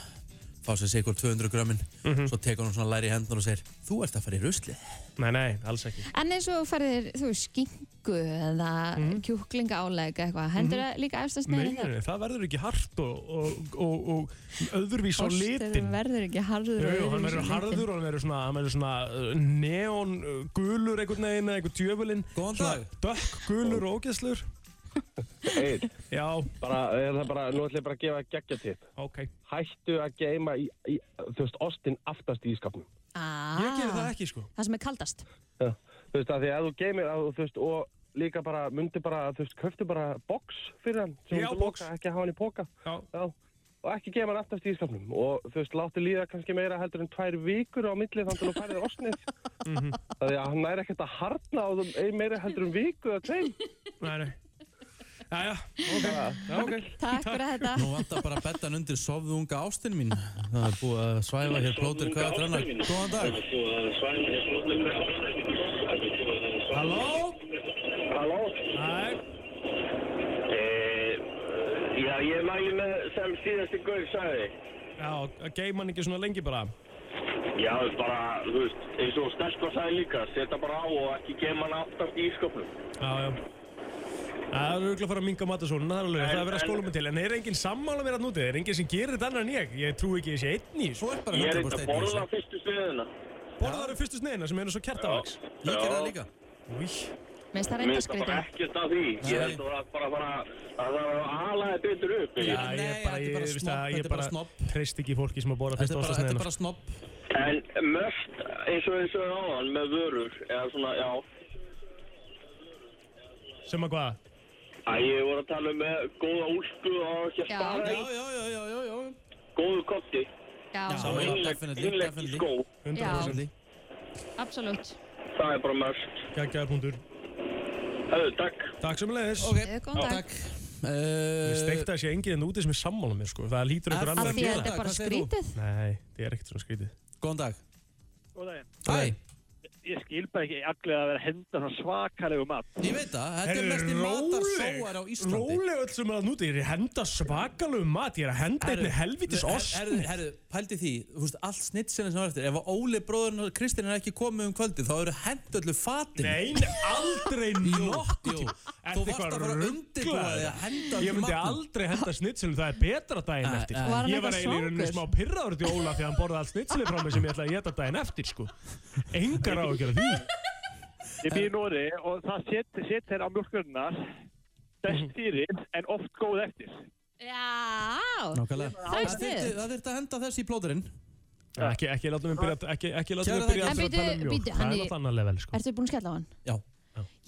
S2: Fá sér sikur 200 grömmin Svo tekur hann svona læri í hendur og segir Mhm. Þú ert að fara í rusli
S3: Nei, nei, alls ekki.
S4: En eins og færðir, þú veist, skingu eða mm. kjúklinga álega eitthvað,
S3: Mm.
S4: hendur það líka eftir að
S3: Nei,
S4: sneiða
S3: nei, nei, það verður ekki hart og, og, og, og öðruvís á litin.
S4: verður ekki harður.
S3: Jú,
S4: og
S3: jú,
S4: öðruvísi á
S3: hann verður
S4: litinn.
S3: harður og hann verður svona, hann verður svona uh, neon uh, gulur einhvern veginn eða einhvern djöfulinn.
S2: Góðan dag.
S3: Dökk, gulur og ógeðslur.
S5: Einn,
S3: Já,
S5: bara, eh, er það bara, nú ætlum ég bara að gefa geggja tipp.
S3: ok.
S5: Hættu að geima í, í, þú veist, ostin aftast í ískapnum.
S4: Ah,
S3: Ég gerir það ekki, sko.
S4: Það sem er kaldast.
S5: Já. Þú veist, að því að þú geimir, að, þú- þú veist, og líka bara, myndi bara, þú veist, köftu bara box fyrir hann. sem
S3: Já,
S5: þú
S3: box.
S5: lokar, Ekki að hafa hann í póka.
S3: Já.
S5: Já. Og ekki geima hann aftast í ískapnum. Og þú veist, láttu líða kannski meira heldur en tvær vikur á milli þannig að þú færið ostnið.
S2: Mhm.
S5: Það því að hann næri ekkert að harna á þeim ein meira heldur en viku eða tveim.
S3: Nei, nei. Jæja, ok. Já, ok.
S4: Takk fyrir þetta.
S2: Nú vantar bara bettan undir sofðu unga ástin mín Það er búið að svæfa hér plótir hvað að granna Góðan dag
S3: Halló?
S5: Halló? Eh,
S3: Nei.
S5: Já, ég mæli með sem síðasti guður sagði.
S3: Já, að geima hann ekki svona lengi bara.
S5: Já, bara, þú veist, eins og Stelko sagði líka, setja bara á og ekki gema hann aftast í ísköpnum.
S3: Já, já. Það er auðvitað að fara að minga matasónuna, það er alveg, það er verið að skóla mig til. En er enginn sammála mér að núti? Er enginn sem gerir þetta annar en ég? Ég trúi ekki að ég sé einn í þessu.
S2: Svo er bara
S5: Ég er
S2: 100% einn
S5: eitthvað að
S2: í
S5: borða
S2: þessu.
S5: fyrstu sviðina.
S3: Borðar fyrstu sneiðina sem eru svo kertavags.
S2: Ég gerði það líka
S3: Úi,
S4: Mér finnst það
S5: Mér
S4: reynda
S5: finnst það
S4: skrítið.
S5: bara ekkert að því. Ég held að það var bara að fara að það var að ala þetta betur upp.
S3: já,
S5: Já.
S2: Nei,
S3: ég bara,
S2: þetta er bara
S3: ég, veist
S2: snobb,
S3: að
S2: þetta
S3: ég
S2: er bara
S3: bara
S2: snobb.
S3: treyst ekki fólki sem að borða
S2: Þetta
S3: fyrstu
S2: er bara, þetta er
S3: ostasneiðina.
S2: bara snopp
S5: En mörst, eins og eins og áðan, með vörur, eða svona, já.
S3: Sem að hvað?
S5: Æ, ég voru að tala um með góða úlsku og ekki að
S4: Já.
S5: spara
S2: Já,
S5: í
S2: já, já, já, já, já
S5: góðu kotti.
S4: Já,
S2: Já.
S5: Og innlegg,
S2: definitely,
S5: innlegg í
S2: definitely.
S5: skó.
S3: 100%
S4: absolutt.
S5: Það er bara mörst.
S3: Gægjaðar punktur.
S5: Höfðu, takk.
S3: Takk sem leiðis.
S2: Ok,
S4: Eða góðan dag.
S2: takk Eh,
S3: Ég steikta að sé enginn en úti sem er sammála mér, sko. Það lítur
S2: Að-
S3: einhver
S4: Af
S3: annar að
S4: því
S2: gera
S4: að
S3: gera.
S4: þetta
S2: það,
S4: er bara
S2: hvað segir þú?
S4: skrítið.
S3: Nei, það er ekkert svona skrítið.
S2: Góðan dag
S5: Góða ég.
S2: Hæ
S11: ég skil bara ekki allir að vera að henda svona svakalegu mat. Ég
S2: veit það,
S3: Herðu, Róleg öll sem er að núti, ég er að henda svakalum mat, ég er að henda einni helvitis
S2: Herru,
S3: ostni.
S2: herru, pældi því, þú veist, allt snitsinu sem var eftir Ef að Óli bróðurinn og Kristinn er ekki komið um kvöldi Þá eru hent öllu fatin
S3: Nei, nei, aldrei nokkuð
S2: Jú,
S3: tíma.
S2: þú varst að fara að undirbúa því að henda
S3: Ég myndi
S2: matnum.
S3: aldrei henda snitsilum, það er betra daginn
S2: Nei,
S3: eftir.
S2: nei. Var hann
S3: Ég var
S2: eitthvað
S3: eiginlega í rauninu smá
S2: svangur?
S3: pirraður til Óla því að hann borði allt snitsilið frá mig sem ég ætlaði að geta daginn eftir, sko. Engar á að gera því.
S11: Ég býð í Nóri og það set- setur á mjölkurnar
S3: Mhm.
S11: best fyrir en oft góð eftir.
S4: Já,
S2: Nákvæmlega
S4: það er
S2: Það
S4: stuð.
S2: þyrfti- það þyrfti að henda þessi í plóturinn
S3: Ekki, ekki láta mig byrja, ekki, ekki láta mig
S2: Gerðu það
S3: byrja
S2: ekki.
S3: aftur
S4: En
S3: að tala um
S4: bíddu,
S3: mjólk.
S4: bíddu,
S3: Það
S4: hann
S3: er
S4: í-
S3: alltaf annað level, sko.
S4: Ertu búin að skella á hann?
S2: Já.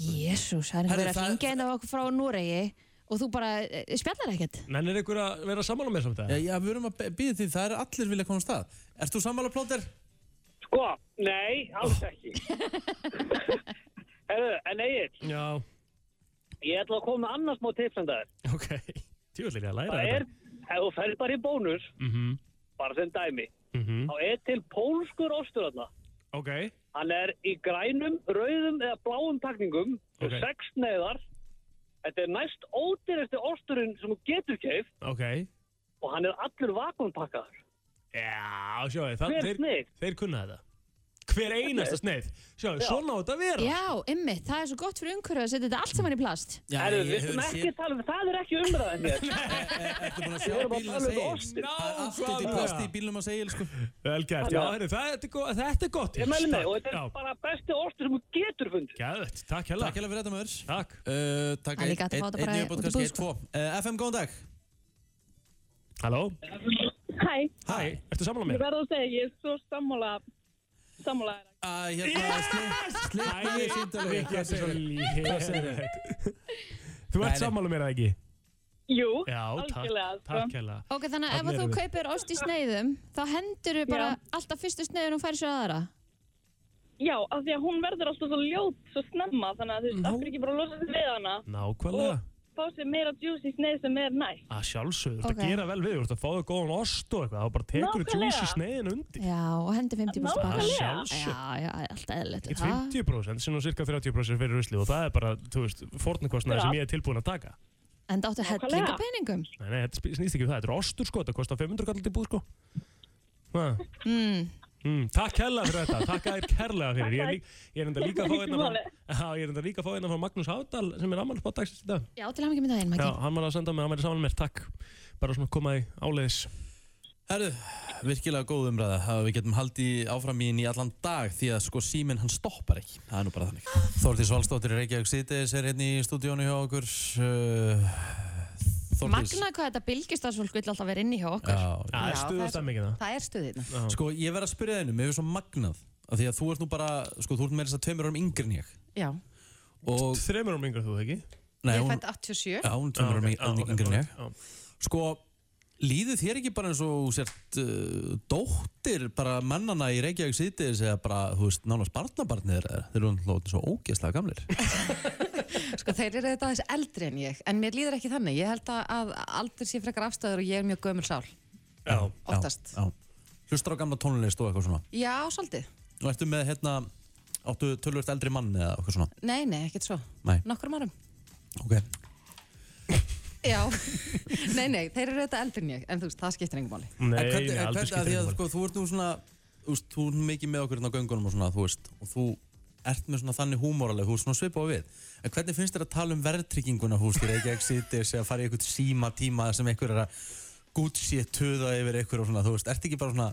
S4: Jésús, það er
S3: Herru,
S4: einhver að
S3: það-
S4: hringja inn á okkur frá Núregi og þú bara eh, spjallar ekkert.
S3: Menn er einhver að vera sammála með samt um
S2: Já, já, við erum að býða því, það er allir vilja koma á stað Erst þú sammála plótur?
S11: Sko, nei, alls ekki. Herðu, en Egil,
S3: Já,
S11: ég ætla að koma með annars smá tips en það er.
S3: ok. Tjóðlega að læra
S11: Það er, ef þú ferð bara í bónus,
S3: Mhm,
S11: bara sem dæmi,
S3: mhm.
S11: þá er til pólskur ostur þarna.
S3: Ok.
S11: Hann er í grænum, rauðum eða bláum pakningum,
S3: Ok.
S11: okay. sex neðar. Þetta er næst ódýrasti osturinn sem þú getur keift
S3: Ok.
S11: og hann er allur vakuumpakkaður.
S3: Já, sjáðu, það,
S11: Hver
S3: þeir, þeir kunna þetta. Hver einasta sneið. Sjáðu,
S11: Já.
S3: svona á þetta að vera.
S4: Já, ymmi, það er svo gott fyrir umhverju að setja þetta allt saman í plast.
S3: Já, Herru, ég við hefur skulum ekki séð-
S11: tala um, það er ekki umræðan hér.
S2: Ertu búin að
S11: Við
S2: sjá
S11: erum að
S2: bílinn
S11: tala
S2: að
S11: um
S2: segja
S11: ostinn.
S2: Það er allt út í
S3: Nákvæmlega.
S2: plasti í bílnum að segja sko.
S3: Vel gert, já, herri, það, þetta, er go- þetta er gott.
S11: Ég mæli mig
S3: Takk.
S11: og þetta er
S3: Já.
S11: bara besti ostur sem þú getur fundið.
S3: Gæðvett, takk hella.
S2: Takk hella fyrir þetta maður
S3: Takk
S2: uh, Takk
S11: Það er líka hægt að fá þetta bara út í búð,
S2: kannski, eitt, tvo uh, FM, góðan dag
S3: Halló
S12: Hæ,
S3: Hæ, ertu sammála
S12: ég
S3: mér?
S12: verða að segja, ég er svo sammála sammála þér.
S2: Æ, hérna, sli- slitnaði
S3: Æ,
S2: í síndalegu.
S3: Rikki,
S2: Hvað
S3: þetta er svo
S2: segirðu?
S3: lélegt.
S2: Hvað segirðu?
S3: Þú ert sammála mér eða ekki?
S12: Jú,
S3: Já,
S12: algjörlega,
S3: takk,
S12: sko.
S3: takk hella.
S4: Ok, þannig að
S3: Þarna
S4: ef að þú
S3: erum við.
S4: kaupir ost í sneiðum, þá hendur við bara alltaf fyrstu sneiðun og færir sér aðra.
S12: Já, af því að hún verður alltaf svo ljót svo snemma, þannig að þú veist, af hverju ekki bara losa sig við hana
S3: Nákvæmlega.
S12: fá sér meira juice í sneið sem er næst.
S3: Að sjálfsögðu, þú ert
S12: Ok.
S3: að gera vel við, þú ert að fá þig góðan ost og eitthvað, þá bara tekur þú
S12: Nákvæmlega.
S3: juice í sneiðin undir.
S4: Já, og hendur 50%
S3: Nákvæmlega.
S4: bara.
S3: Að sjálfsögðu.
S4: Já, já, alltaf eðlilegt.
S3: Í 20% sem er cirka 30% fyrir rusli og það er bara, þú veist, fornukostnaði
S4: Já.
S3: sem ég er tilbúin að taka.
S4: En það áttu hellinga peningum.
S3: Nei, nei, þetta sp- snýst ekki um það, þetta er ostur sko, þetta kostar 500 kallar til búð sko. Ha.
S4: Mm.
S3: Mm, takk hella fyrir þetta, takk að þér kærlega fyrir. Ég er, lík, ég er enda líka að fá einna frá, Já, ég er enda líka að fá einna frá Magnús Hádal sem er ammálspátt dagsins í dag.
S4: Já, til hann ekki með daginn,
S3: Já,
S4: Maggi.
S3: hann var að senda mér, hann væri saman mér, takk. Bara svona komaði áleiðis.
S2: Herru, virkilega góð umræða að við getum haldið áfram í henni í allan dag því að sko síminn hann stoppar ekki það er nú bara þannig Þórtís Valstóttir í Reykjavík Cities er hérna í stúdíónu hjá okkur uh, Þórdís
S4: Magna hvað þetta bylgistarsfólk vill alltaf vera inni hjá okkur.
S2: Já, já.
S4: Já, það er-
S3: stemmingina.
S13: Það er hérna. stuðið.
S2: Sko ég verð að spyrja þennu, mér er svo magnað af því að þú ert nú bara, sko þú ert meira þess að tveimur árum yngri en ég
S13: Já,
S2: og
S3: Þreimur árum yngri þú ekki?
S2: Nei,
S13: ég
S2: hún,
S13: fætt 87.
S2: já, hún er tveimur árum
S3: Já,
S2: yngri
S3: Ah, ok, já, ok,
S2: yngri en ég
S3: já.
S2: Sko, líður þér ekki bara eins og þú sért uh, dóttir bara mannana í Reykjavík Cities eða bara, þú veist, nánast barnabarnið þeirra þeir eru náttúrulega svo ógeðslega gamlir
S13: Sko þeir eru þetta aðeins eldri en ég, en mér líður ekki þannig. Ég held að, að aldur sé frekar afstæður og ég er mjög gömul sál.
S2: Já,
S13: Oftast.
S2: já, já. Hlustar á gamla tónlist og eitthvað svona
S13: Já, svolítið.
S2: Og ertu með, hérna, áttu tölvöld eldri mann eða eitthvað svona
S13: Nei, nei, ekkert svo.
S2: Nei.
S13: Nokkrum árum.
S2: Ok.
S13: Já, nei, nei, þeir eru þetta eldri en ég, en þú veist, það skiptir engum máli.
S3: Nei,
S2: en hvernig,
S3: nei,
S2: en
S3: aldur
S2: hvernig,
S3: skiptir
S2: að því að
S3: engu máli.
S2: sko, þú ert nú svona þú veist, þú ert mikið með okkur hérna á göngunum og svona, þú veist og þú ert með svona þannig húmóraleg, þú ert svona svipað á við en hvernig finnst þér að tala um verðtrygginguna þú veist, þér ekki ekki sittis eða fara í eitthvað síma tíma sem einhver er að Gucci er töða yfir einhver og svona, þú veist, ert ekki bara svona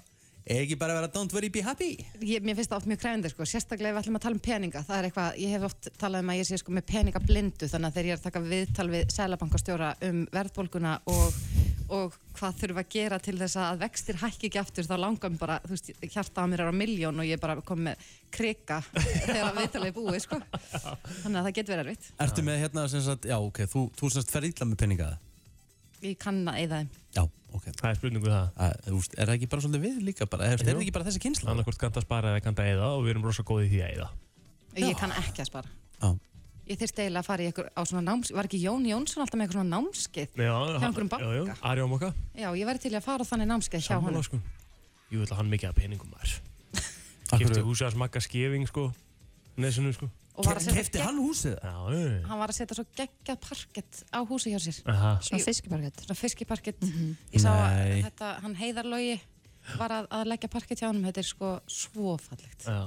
S2: ekki bara að vera don't worry be happy
S13: Ég, mér finnst það oft mjög kræfandi sko, sérstaklega ef við ætlum að tala um peninga, það er eitthvað, ég hef oft talað um að ég sé sko með peninga blindu, þannig að þegar ég er að taka viðtal við sælabankastjóra um verðbólguna og, og hvað þurfum að gera til þess að vextir hækki ekki aftur, þá langar mér bara, þú veist, hjarta að mér er á miljón og ég er bara kom með krika þegar viðtalið er búið sko, þannig að það getur verið erfitt,
S2: Ertu með hérna sem sagt, já ok, þú, þú sem sagt ferð illa með peningaða
S13: ég kann að eyða þeim.
S2: Já, ok
S3: Það er spurningu það
S2: að, þú veist, Er það ekki bara svolítið við líka bara, er, er það ekki bara þessi kynsla?
S3: Annarkvort kannta spara eða kannta eða og við erum rosa góðið í því að eða
S13: Ég kann ekki að spara.
S2: Já.
S13: Ég þyrst eiginlega að fara í ykkur á svona náms, var ekki Jón Jónsson alltaf með eitthvað svona námskeið?
S3: Já,
S13: Hjá einhverjum banka?
S3: Jú, Arjón Mokka
S13: Já, ég væri til í að fara á þannig námskeið hjá honum.
S3: Jú, ætla hann mikið að peningum maður Kipti húsið að smakka skefing sko nesinu sko
S13: Og var að setja Keypti gegn- hann
S2: húsið?
S3: Já, já, já.
S13: Hann var að setja svo geggjað parkett á húsi hjá sér.
S3: Aha.
S4: Svona fiskiparkett.
S13: Svona fiskiparkett. Ég sá að
S3: Nei.
S13: þetta, hann heiðarlogi var að, að leggja parkett hjá hann. Þetta er sko svo fallegt.
S3: Já.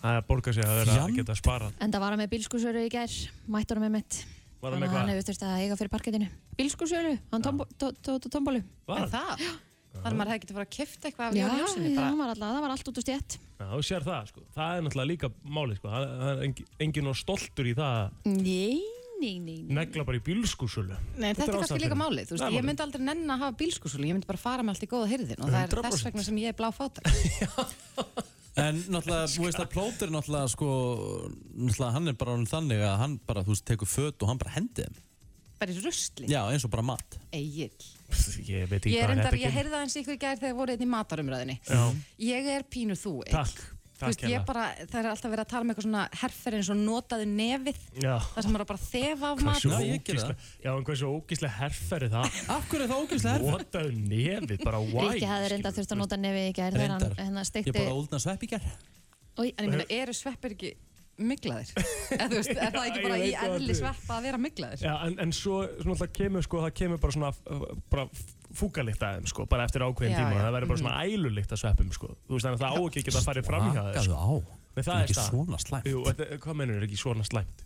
S3: Það er að borga sig að vera að geta spara
S4: En það var hann með bílskúsölu í gær, mættur hann með mitt.
S3: Var hann með
S4: að hann
S3: hvað?
S4: hefur þurft að eiga fyrir parkettinu. Bílskúsölu, hann tombo- tó- tó- tó- tombólu.
S3: Var
S13: En það? Þannig að maður hefði getið fara að kifta eitthvað af
S4: Já,
S13: Jóni Jónsini
S4: já,
S13: bara.
S4: hann var alltaf, það var allt út úr stjætt.
S3: Já, þú sér það sko Það er náttúrulega líka máli sko Það það er engin, engin og stoltur í það að
S4: Nei, nei, nei.
S3: negla bara í bílskúsölu
S13: Nei, þetta er kannski
S3: ástæðan
S13: líka
S3: fyrir.
S13: málið, þú veist,
S3: Það er
S13: ég myndi aldrei nenn að hafa bílskúsúlu, ég myndi bara fara með allt í góða hyrðin og það er
S2: 100%.
S13: þess vegna sem ég er blá fátak.
S2: En náttúrulega, þú veist að plótir náttúrulega sko, náttúrulega hann er bara orðinn þannig að hann bara, þú veist, tekur föt og hann bara hendi þeim.
S13: Bara í rusli,
S2: Já, eins og bara mat.
S13: eigil.
S3: Ég veit
S13: Ég, reyndar, ég heyrði aðeins ykkur í gær þegar voru einn í matarumröðinni.
S3: Já.
S13: Ég er pínu þú, Egill.
S3: Takk,
S13: Þú veist,
S3: takk hérna.
S13: ég bara, það er alltaf verið að tala um eitthvað svona herfer eins og notaðu nefið,
S3: Já.
S13: þar sem maður á bara að þefa af mat.
S3: Hversu ógíslega, já, en hversu ógíslega herfer er það?
S2: Af hverju er það ógíslega herfer?
S3: Notaðu nefið, bara why?
S4: Ríkki hafði reynda þurft að nota nefi í gær þegar hann,
S3: Reyndar.
S4: hann
S2: Ég
S4: steikti
S2: bara úldna svepp í gerð.
S13: Oi, en ég meina, eru sveppir ekki myglaðir? Eða þú veist, er það ekki
S3: Ég
S13: bara í
S3: veit það
S13: eðli
S3: allir.
S13: sveppa að vera myglaðir?
S3: Já, en, en svo, svona alltaf kemur, sko, það kemur bara svona, uh, bara fúkalikt aðeim, sko, bara eftir ákveðin
S13: Já,
S3: tíma,
S13: já,
S3: það verður bara
S13: mhm.
S3: svona ælulikt að sveppum, sko. Þú veist, þannig að það á ekki að geta farið fram í það, sko.
S2: Slakaðu á. Þetta
S3: Nei, það
S2: er
S3: er
S2: ekki
S3: það.
S2: svona slæmt.
S3: Jú, þetta, hvað mennur er ekki svona slæmt?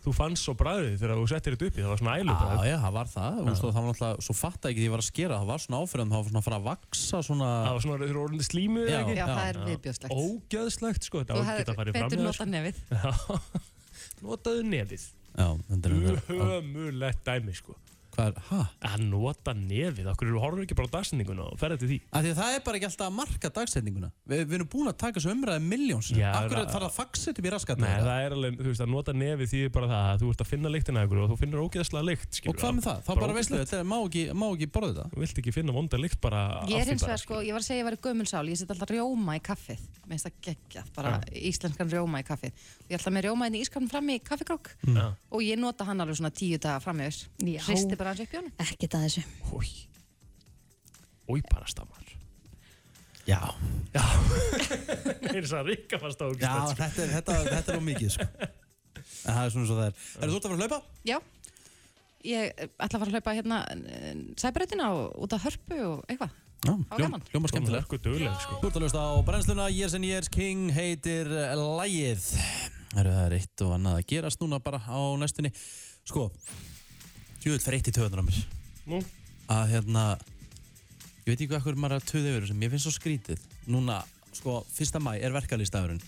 S3: Þú fannst svo bræðið þegar þú settir þetta uppi, það var svona
S2: Já,
S3: ælubragð.
S2: já, það var það. Þú veist, og það var náttúrulega, svo fatt ekki því ég var að skera, það var svona áferðan, það var svona að fara að vaksa svona...
S3: Það var svona, þeir eru orðinni slímuð,
S2: Já,
S3: ekki?
S2: Já, það
S13: er viðbjóðslegt.
S3: Ógæðslegt, sko,
S13: Þú
S3: þetta á ekki að
S13: hefði
S3: farið fram
S13: betur
S3: í það,
S13: notað nefið.
S3: sko. Já, notaðu nefið.
S2: Já, þetta er...
S3: Ömulegt dæmi, sko.
S2: Hvað er, hæ?
S3: Að nota nefið, okkur eru horfður ekki bara á dagsetninguna og ferði til því.
S2: Af því að það er bara ekki alltaf að marka dagsetninguna. Vi, við erum búin að taka þessu umræði miljóns.
S3: Já,
S2: Akkur er
S3: það-
S2: það að faxa upp í raskatum?
S3: Nei, það er alveg, þú veist, að nota nefið því bara það að þú ert að finna lyktina af einhverju og þú finnur ógeðslega lykt, skilur.
S2: Og hvað með það? Þá bara veistu þetta, má ekki, má ekki borða þetta.
S3: Þú vilt ekki finna vonda lykt bara
S13: Ég
S3: af
S13: er
S3: því
S13: hins
S3: bara,
S13: vegar, sko, ég var að segja að ég væri gömulsál, ég set alltaf rjóma í kaffið. Mér finnst það geggjað, bara íslenskan rjóma í kaffið. Og ég er alltaf með rjómaðin í ískanum fram í kaffikrók
S2: Mm.
S3: skilur. Já.
S13: og ég nota hann alveg svona tíu daga fram yfir.
S4: Já.
S13: Hristi bara hans upp í honum.
S4: ekkert að þessu.
S3: Új. Új, bara stammar.
S2: Já.
S3: Já. Ég er að ríka sko. fast á okkur.
S2: Já, þetta, er- þetta, þetta er of mikið, sko. En það er svona svo það er. Er þú ert að fara að hlaupa?
S13: Já. Ég eh, ætla að fara að hlaupa hérna sæbröðina og út af hörpu og eitthvað.
S2: Já,
S13: Það var gaman.
S2: Ljóma skemmtilega.
S3: Ljóma dugleg, sko.
S2: Þú ert að hlusta á brennsluna, Years and Years King heitir eh, lagið. Heru, það er eitt og annað að gerast núna bara á næstunni. Sko, djúðvill fer eitt í töðunar á mér.
S3: Nú?
S2: Að hérna, ég veit ekki hvað hverju maður er að töða yfir þessu, mér finnst svo skrítið. Núna, sko, fyrsta mæ er verkalýstafurinn.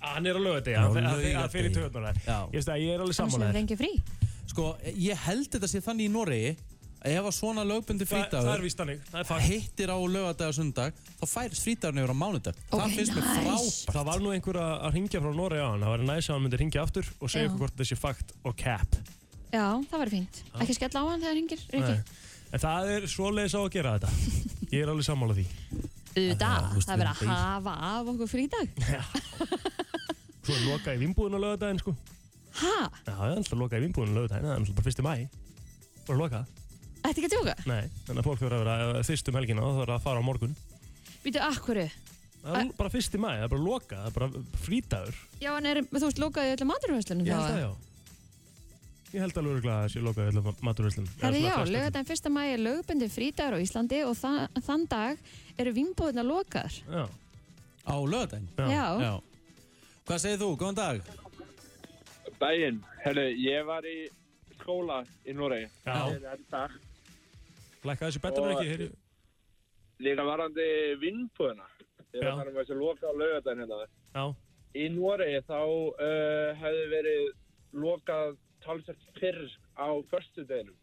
S3: Hann er á lögadegi,
S2: Hann er á
S3: hann fer- hann fer í
S2: laugardegi.
S3: töðunar þær. Ég veist að ég er alveg
S4: Hann sem
S3: sammálaður.
S4: hefur fengið frí.
S2: Sko, ég held þetta sé þannig í Noregi að ef að svona lögbundi
S3: Þa-
S2: frítagur
S3: það er víst þannig, það er fakt.
S2: hittir á lögadag og sundag þá færist frítagurinn yfir á mánudag það finnst mér frábært
S3: Það var nú einhver að að hringja frá Noregi á hann, það væri næs að hann myndi hringja aftur og segja
S4: Já.
S3: okkur hvort þessi fakt og cap.
S4: Já, það var fínt. Ekki skella á hann þegar hringir, Ríkki.
S3: Nei. En það er svoleiðis á að gera þetta. Ég er alveg sammála því.
S4: Uda,
S3: þú veist,
S4: það er verið
S3: við
S4: að hafa af okkur frídag.
S3: Svo er lokað í vinnbúðinu á lögadaginn, sko.
S4: Ha?
S3: Já, það er alltaf lokað í vinnbúðinu á lögadaginn, það er alltaf bara fyrsti mæ. Bara lokað.
S4: Ætti ekki að tjóka?
S3: Nei, þannig að fólk verður að vera eh, fyrst um helgina og það verður að fara á morgun.
S4: Býtu, akkurru?
S3: Það er bara fyrsti mæ, það er bara lokað, það er bara frítagur.
S4: Já, en er, þú veist, lokaði öllu maturhverslunum
S3: Ég held að já. Ég held alveg örugglega að það sé lokað í öllum maturverslunum.
S4: Herri, já, lögadaginn fyrsta mæ er lögbundi frídagur á Íslandi og þa þann dag eru vinnbúðina lokaðar.
S3: Já.
S2: Á lögadaginn?
S4: Já. Já.
S2: Hvað segir þú? Góðan dag
S11: Dæin, herru, ég var í skóla í Noregi.
S3: Já.
S11: Fyrir enn dag.
S3: Lækka þessi betur en
S11: Og-
S3: ekki, heyri.
S11: Líka varandi vinnbúðina. Ég var
S3: Já.
S11: að fara með þessu loka á laugardaginn hérna.
S3: Já.
S11: Í Noregi þá uh, hefði verið lokað talsett fyrr á förstudeginum.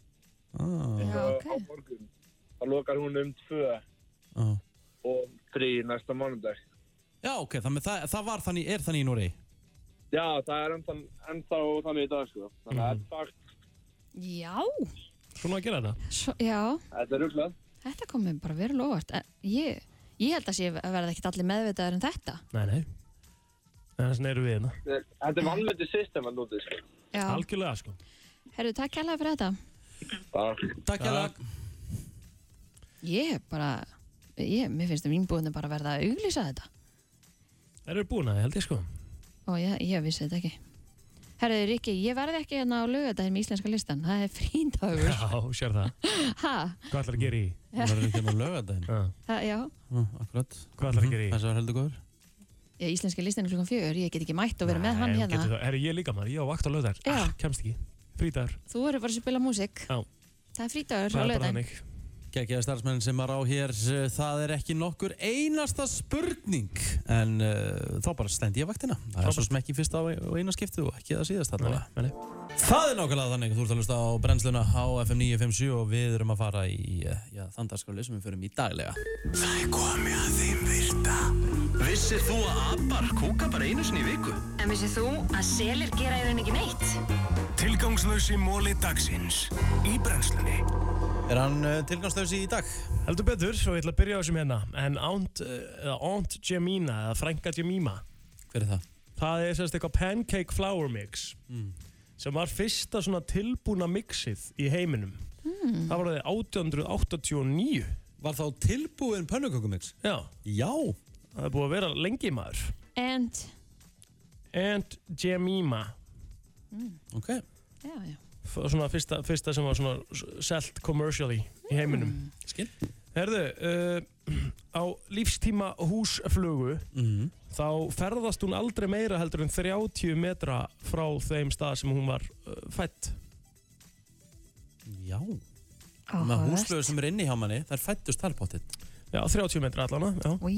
S2: Ah.
S11: Já, ok. Á morgun. Það lokar hún um tvö
S2: Já.
S11: og þrý næsta mánudag.
S2: Já, ok, þannig, það, það var þannig, er þannig í Noregi
S11: Já, það er ennþá, ennþá þannig í dag, sko. Þannig að
S2: Mhm.
S11: þetta fakt,
S4: Já,
S3: Svona að gera þetta.
S4: svo, já.
S11: þetta er rugglað.
S4: Þetta kom mér bara verið lofart. Ég, ég held að sé að verða ekkert allir meðvitaður en þetta.
S3: Nei, nei. En þess vegna eru við hérna.
S11: Þetta er vanlöndi system að núti, sko.
S4: Já.
S3: Algjörlega, sko.
S4: Herru, takk kærlega fyrir þetta.
S11: Takk.
S2: Takk hérna
S4: Ég bara, ég, mér finnst að vínbúðinu bara verða að auglýsa þetta.
S3: Það eru búin að, því, held ég, sko.
S4: og ég, ég vissi þetta ekki Herðu Rikki, ég verði ekki hérna á lögadaginn með íslenska listan, það er fríndagur
S3: Já, sér það.
S4: Ha,
S3: Hvað ætlar að gera í?
S4: Hún verður ekki
S2: hérna á lögadaginn.
S4: það, já,
S2: Ah, Akkurat.
S3: Hvað ætlar að gera í?
S2: Þessi var heldur góður.
S4: ég er íslenska listan klukkan fjögur, ég get ekki mætt og verið með hann hérna
S3: Er ég líka maður, ég á vakt á löðar.
S4: Já.
S3: Kemst ekki. Frítar.
S4: Þú verður bara að spila músík
S3: Já.
S4: Það er frídagur á lögadaginn
S2: Gekkjaði starfsmenn sem var á hér, eh, það er ekki nokkur einasta spurning en uh, þá bara stend ég vaktina. Það er svo sem ekki fyrsta á á eina skiptu og ekki það síðast allavega.
S3: Nei,
S2: Það er nákvæmlega þannig, þú ert að hlusta á brennsluna á FM 957 og við erum að fara í eh, já, þann dagskráli sem við förum í daglega.
S1: Það er komið að þeim virta Vissir þú að abar kúka bara einu sinni í viku?
S14: En vissið þú að selir gera í rauninni ekki neitt?
S1: Tilgangslösi móli dagsins Í brennslunni
S2: Er hann uh, tilgangslösi í dag?
S3: Heldur betur og ég ætla að byrja á þessum hérna. En Aunt, eh, eða Aunt Jemima eða Franka Jemima.
S2: Hver er það?
S3: Það er semst eitthvað pancake flour mix sem var fyrsta svona tilbúna mixið í heiminum.
S4: Mm.
S3: Það var það 1889.
S2: Var þá tilbúin pönnukökumix?
S3: Já.
S2: Já.
S3: Það er búið að vera lengi maður.
S4: And,
S3: Aunt Jemima.
S2: Ok.
S4: já, já
S3: F- svona fyrsta, fyrsta sem var svona s- selt commercially í heiminum
S2: Skil
S3: Herðu, uh, á lífstíma húsflugu
S2: Mhm.
S3: þá ferðast hún aldrei meira heldur en 30 metra frá þeim stað sem hún var uh, fætt
S2: Já Með húslöðu sem er inni hjá manni, það er fættust þar pottitt.
S3: Já, 30 metra allana já.
S4: Í,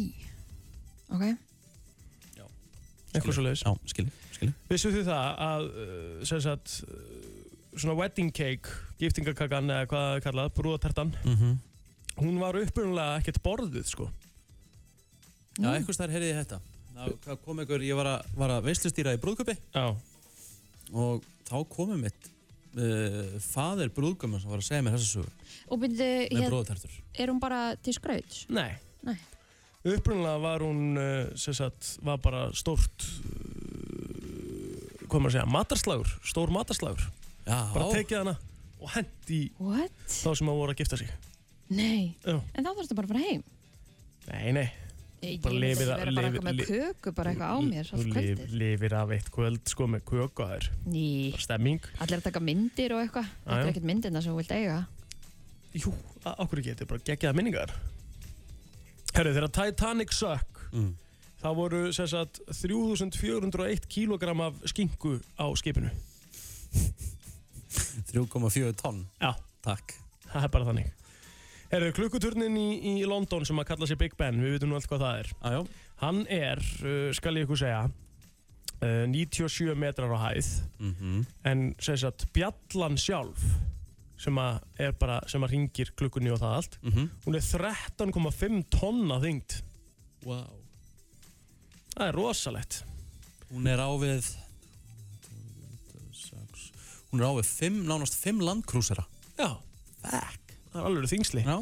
S4: ok
S3: Eitthvað svo leiðis
S2: Já, skilji, skilji
S3: Vissu þið það að uh, sem sagt, uh, svona wedding cake giftingakakan eða hvað það er kallað, brúðatertan
S2: Mhm.
S3: hún var upprunalega ekkert borðuð sko
S2: Já, einhvers þar heyrði ég þetta. Það það kom einhver, ég var að, var að veislustýra í brúðköpi
S3: Já.
S2: og þá komum mitt uh, faðir brúðkömmu sem var að segja mér þessa sögu
S4: Og byrju,
S2: með
S4: hér,
S2: bróðtertur.
S4: er hún bara til skrauts?
S3: Nei.
S4: Nei.
S3: Upprunlega var hún, eh, sem sagt, var bara stórt, eh, hvað maður að segja, matarslagur, stór matarslagur.
S2: Já.
S3: Bara tekið hana og hendi í
S4: What?
S3: þá sem að voru að gifta sig.
S4: Nei,
S3: Já.
S4: en þá þarfst þú bara að fara heim
S3: Nei, nei.
S4: Ég
S3: Bara
S4: ég
S3: lifið
S4: myndi vera
S3: að-
S4: bara
S3: lifið-
S4: eitthvað með
S3: li-
S4: köku bara eitthvað á mér allt kvöldið.
S3: Þú lifir af eitt kvöld, sko, með köku að þér.
S4: Ný,
S3: Bara stemming.
S4: allir að taka myndir og eitthvað Þetta
S3: já.
S4: er ekkert myndina sem þú vilt eiga
S3: Jú, á- af hverju ekki, þetta er bara geggjaða minningar Herru, þegar Titanic sökk þá voru sem sagt 3401 kílogram af skinku á skipinu
S2: 3,4 tonn.
S3: Já
S2: Takk
S3: Það er bara þannig Herru, klukkuturnin í, í London sem að kalla sig Big Ben við veitum nú allt hvað það er
S2: Ajá.
S3: Hann er, uh, skal ég ykkur segja uh, 97 metrar á hæð
S2: Mhm.
S3: en sem sagt bjallan sjálf sem að er bara, sem að ringir klukkunni og það allt
S2: Mhm.
S3: hún er 13,5 tonna þyngd
S2: wow.
S3: það er rosalegt
S2: Hún er á við hún er á við fimm, nánast 5 landkrúsera.
S3: já, Fuck. það er alveg þingsli
S2: já.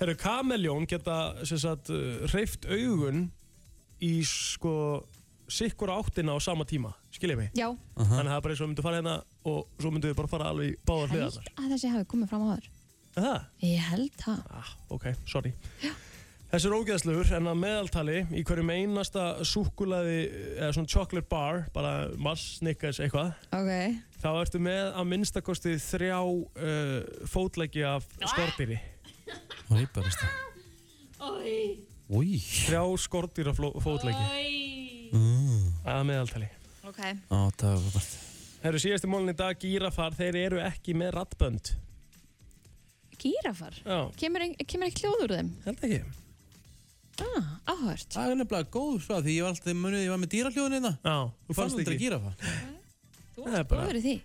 S3: herru, kameljón geta sem sagt hreift augun í sko sikkur áttina á sama tíma, skiljið mig
S4: Já,
S3: þannig að það er bara eins og myndu fara hérna og svo myndu við bara fara alveg í báðar
S4: held
S3: hliðar
S4: að þessi hafi komið fram á þér
S3: það?
S4: Ég held það
S3: Ah, ok, sorry Þessi er ógeðslugur en að meðaltali í hverjum einasta súkkulaði eða svona chocolate bar, bara mars, snickers, eitthvað
S4: Ok,
S3: þá ertu með að minnstakosti þrjá uh, fótleggi af skordýri
S2: Það er bara stað. Új.
S3: Þrjá skordýra fótleggi Mm. að meðaltali
S4: ok
S2: Á, það er bara
S3: Herru, síðasti mólin í dag, gírafar, þeir eru ekki með rattbönd
S4: Gírafar,
S3: Já,
S4: kemur, ein- kemur ekki hljóð úr þeim?
S3: held ekki
S4: Ah, áhört
S2: Það er nefnilega góð svo því ég var alltaf munið, ég var með dýrahljóðin hérna.
S3: Já,
S2: Þú fannst aldrei gíra
S4: Þú
S3: varst
S4: Góður í því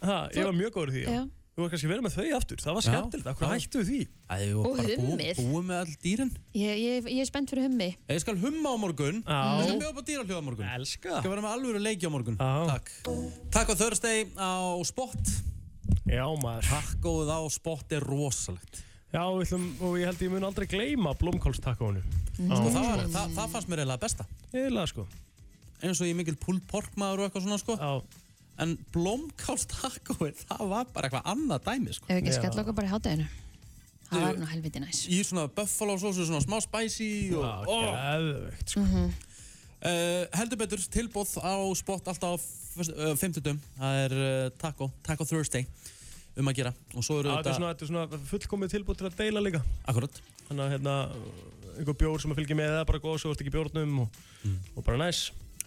S3: Ha,
S4: Þú-
S3: ég var mjög góður í því, já.
S4: Já.
S3: Þú var kannski verið með þau aftur, það var skemmtilegt, hvað hættu við því?
S2: Það er
S4: Og
S2: bara bú,
S4: hummið.
S2: búið með all dýrin.
S4: Ég, ég, ég er spennt fyrir hummi
S2: Ég skal humma á morgun.
S3: Já.
S2: Ég skal bjóða upp á dýrahljóð á morgun.
S3: Elska.
S2: Ég skal vera með alvöru leiki á morgun.
S3: Já.
S2: Takk. Takk á Thursday á Spot.
S3: Já, maður.
S2: Takk góð á Spot er rosalegt.
S3: Já, við ætlum, og ég held ég mun aldrei gleyma blómkálstakkónu.
S2: Sko, það,
S3: Mm.
S2: var, það, það fannst mér eiginlega besta.
S3: Eða, sko.
S2: Eins og ég er mikil pulled pork maður og eitthvað svona, sko.
S3: Já.
S2: En blómkálstakói, það var bara eitthvað annað dæmi, sko.
S4: Ef ekki skall okkur bara í hátæðinu Það var
S2: Ég-
S4: nú helviti næs
S2: Í svona buffalo sósu, svona smá spicy og...
S3: Geðveikt, sko.
S4: Mhm.
S2: Uh, heldur betur tilbúð á spott alltaf á 50 það er uh, Taco, Taco Thursday um að gera og svo eru
S3: Já, Þetta er svona, þetta er svona fullkomið tilbúið til að deila líka
S2: Akkurat
S3: Þannig að hérna, einhver bjór sem að fylgja með eða bara góð svo ertu ekki í bjórnum og, og bara næs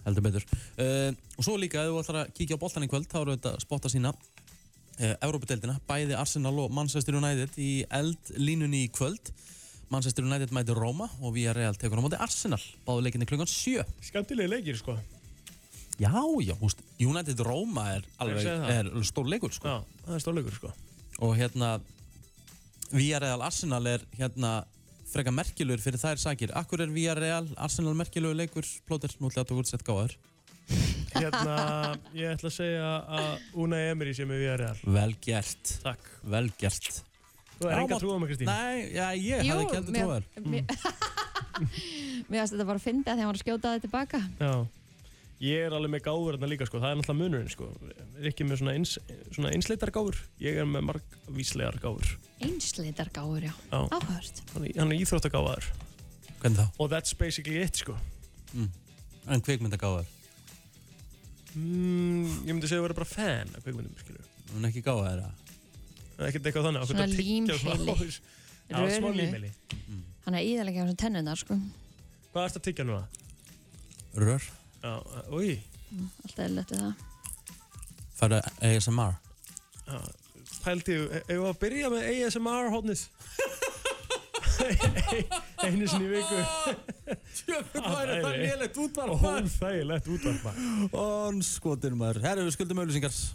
S2: heldur betur uh, og svo líka ef þú ætlar að kíkja á boltan í kvöld þá eru þetta spotta sína uh, Európa-deildina, bæði Arsenal og Manchester United í eldlínunni í kvöld Manchester United mæti Roma og við erum reall tekur á móti Arsenal báðu leikinni klukkan 7
S3: Skemmtilegi leikir sko
S2: Já, já, húst, United Roma er alveg,
S3: segi það.
S2: er stór leikur sko
S3: Já, það er stórleikur sko
S2: og hérna Villarreal Arsenal er hérna freka merkjulegur fyrir þær sakir Akkur er Villarreal Arsenal merkjulegur leikur plóter, nú ætla ég að þú ert sett gáðar
S3: Hérna, ég ætla að segja að Unai Emery sem er við að real
S2: Vel gert
S3: Takk
S2: Vel gert
S3: Þú er enga trúið á mig Kristín
S2: Nei, já, ég
S4: Jú,
S2: hafði ekki heldur
S4: mér-
S2: trúið
S4: mér- Mér finnst þetta bara að fyndi að þegar hann var að skjóta það tilbaka
S3: Já Ég er alveg með gáfur hérna líka sko, það er náttúrulega munurinn sko Er ekki með svona, eins, svona einsleitar gáfur Ég er með margvíslegar gáfur
S4: Einsleitar gáður, já
S3: Já.
S4: Áhört
S3: Hann er- hann er íþróttagáfaður
S2: Hvernig þá?
S3: Og that's basically it sko
S2: En kvikmyndagáðar
S3: mm, Ég myndi segja að vera bara fan af kveikmyndum skilur
S2: Hún er ekki gáðar að
S3: Ekkert eitthvað þannig okkur
S4: Svona
S3: að tyggja
S4: límheili.
S3: svona- Já, smá
S4: Rörinu.
S3: límheili
S2: Mm.
S4: Hann er íðalega á þessum tennunar, sko
S3: Hvað ertu að tyggja núna?
S2: Rör
S3: Já, uh, úi
S4: Alltaf er letið það
S2: Færa ASMR
S3: Pældi, hefur við að byrja með ASMR hóðnið? Einu sinni í viku
S2: Jöfnum
S1: væri það lélegt
S2: útvarp
S3: Óþægilegt útvarp maður.
S2: Onskotin maður Herru, við skuldum auðlýsingar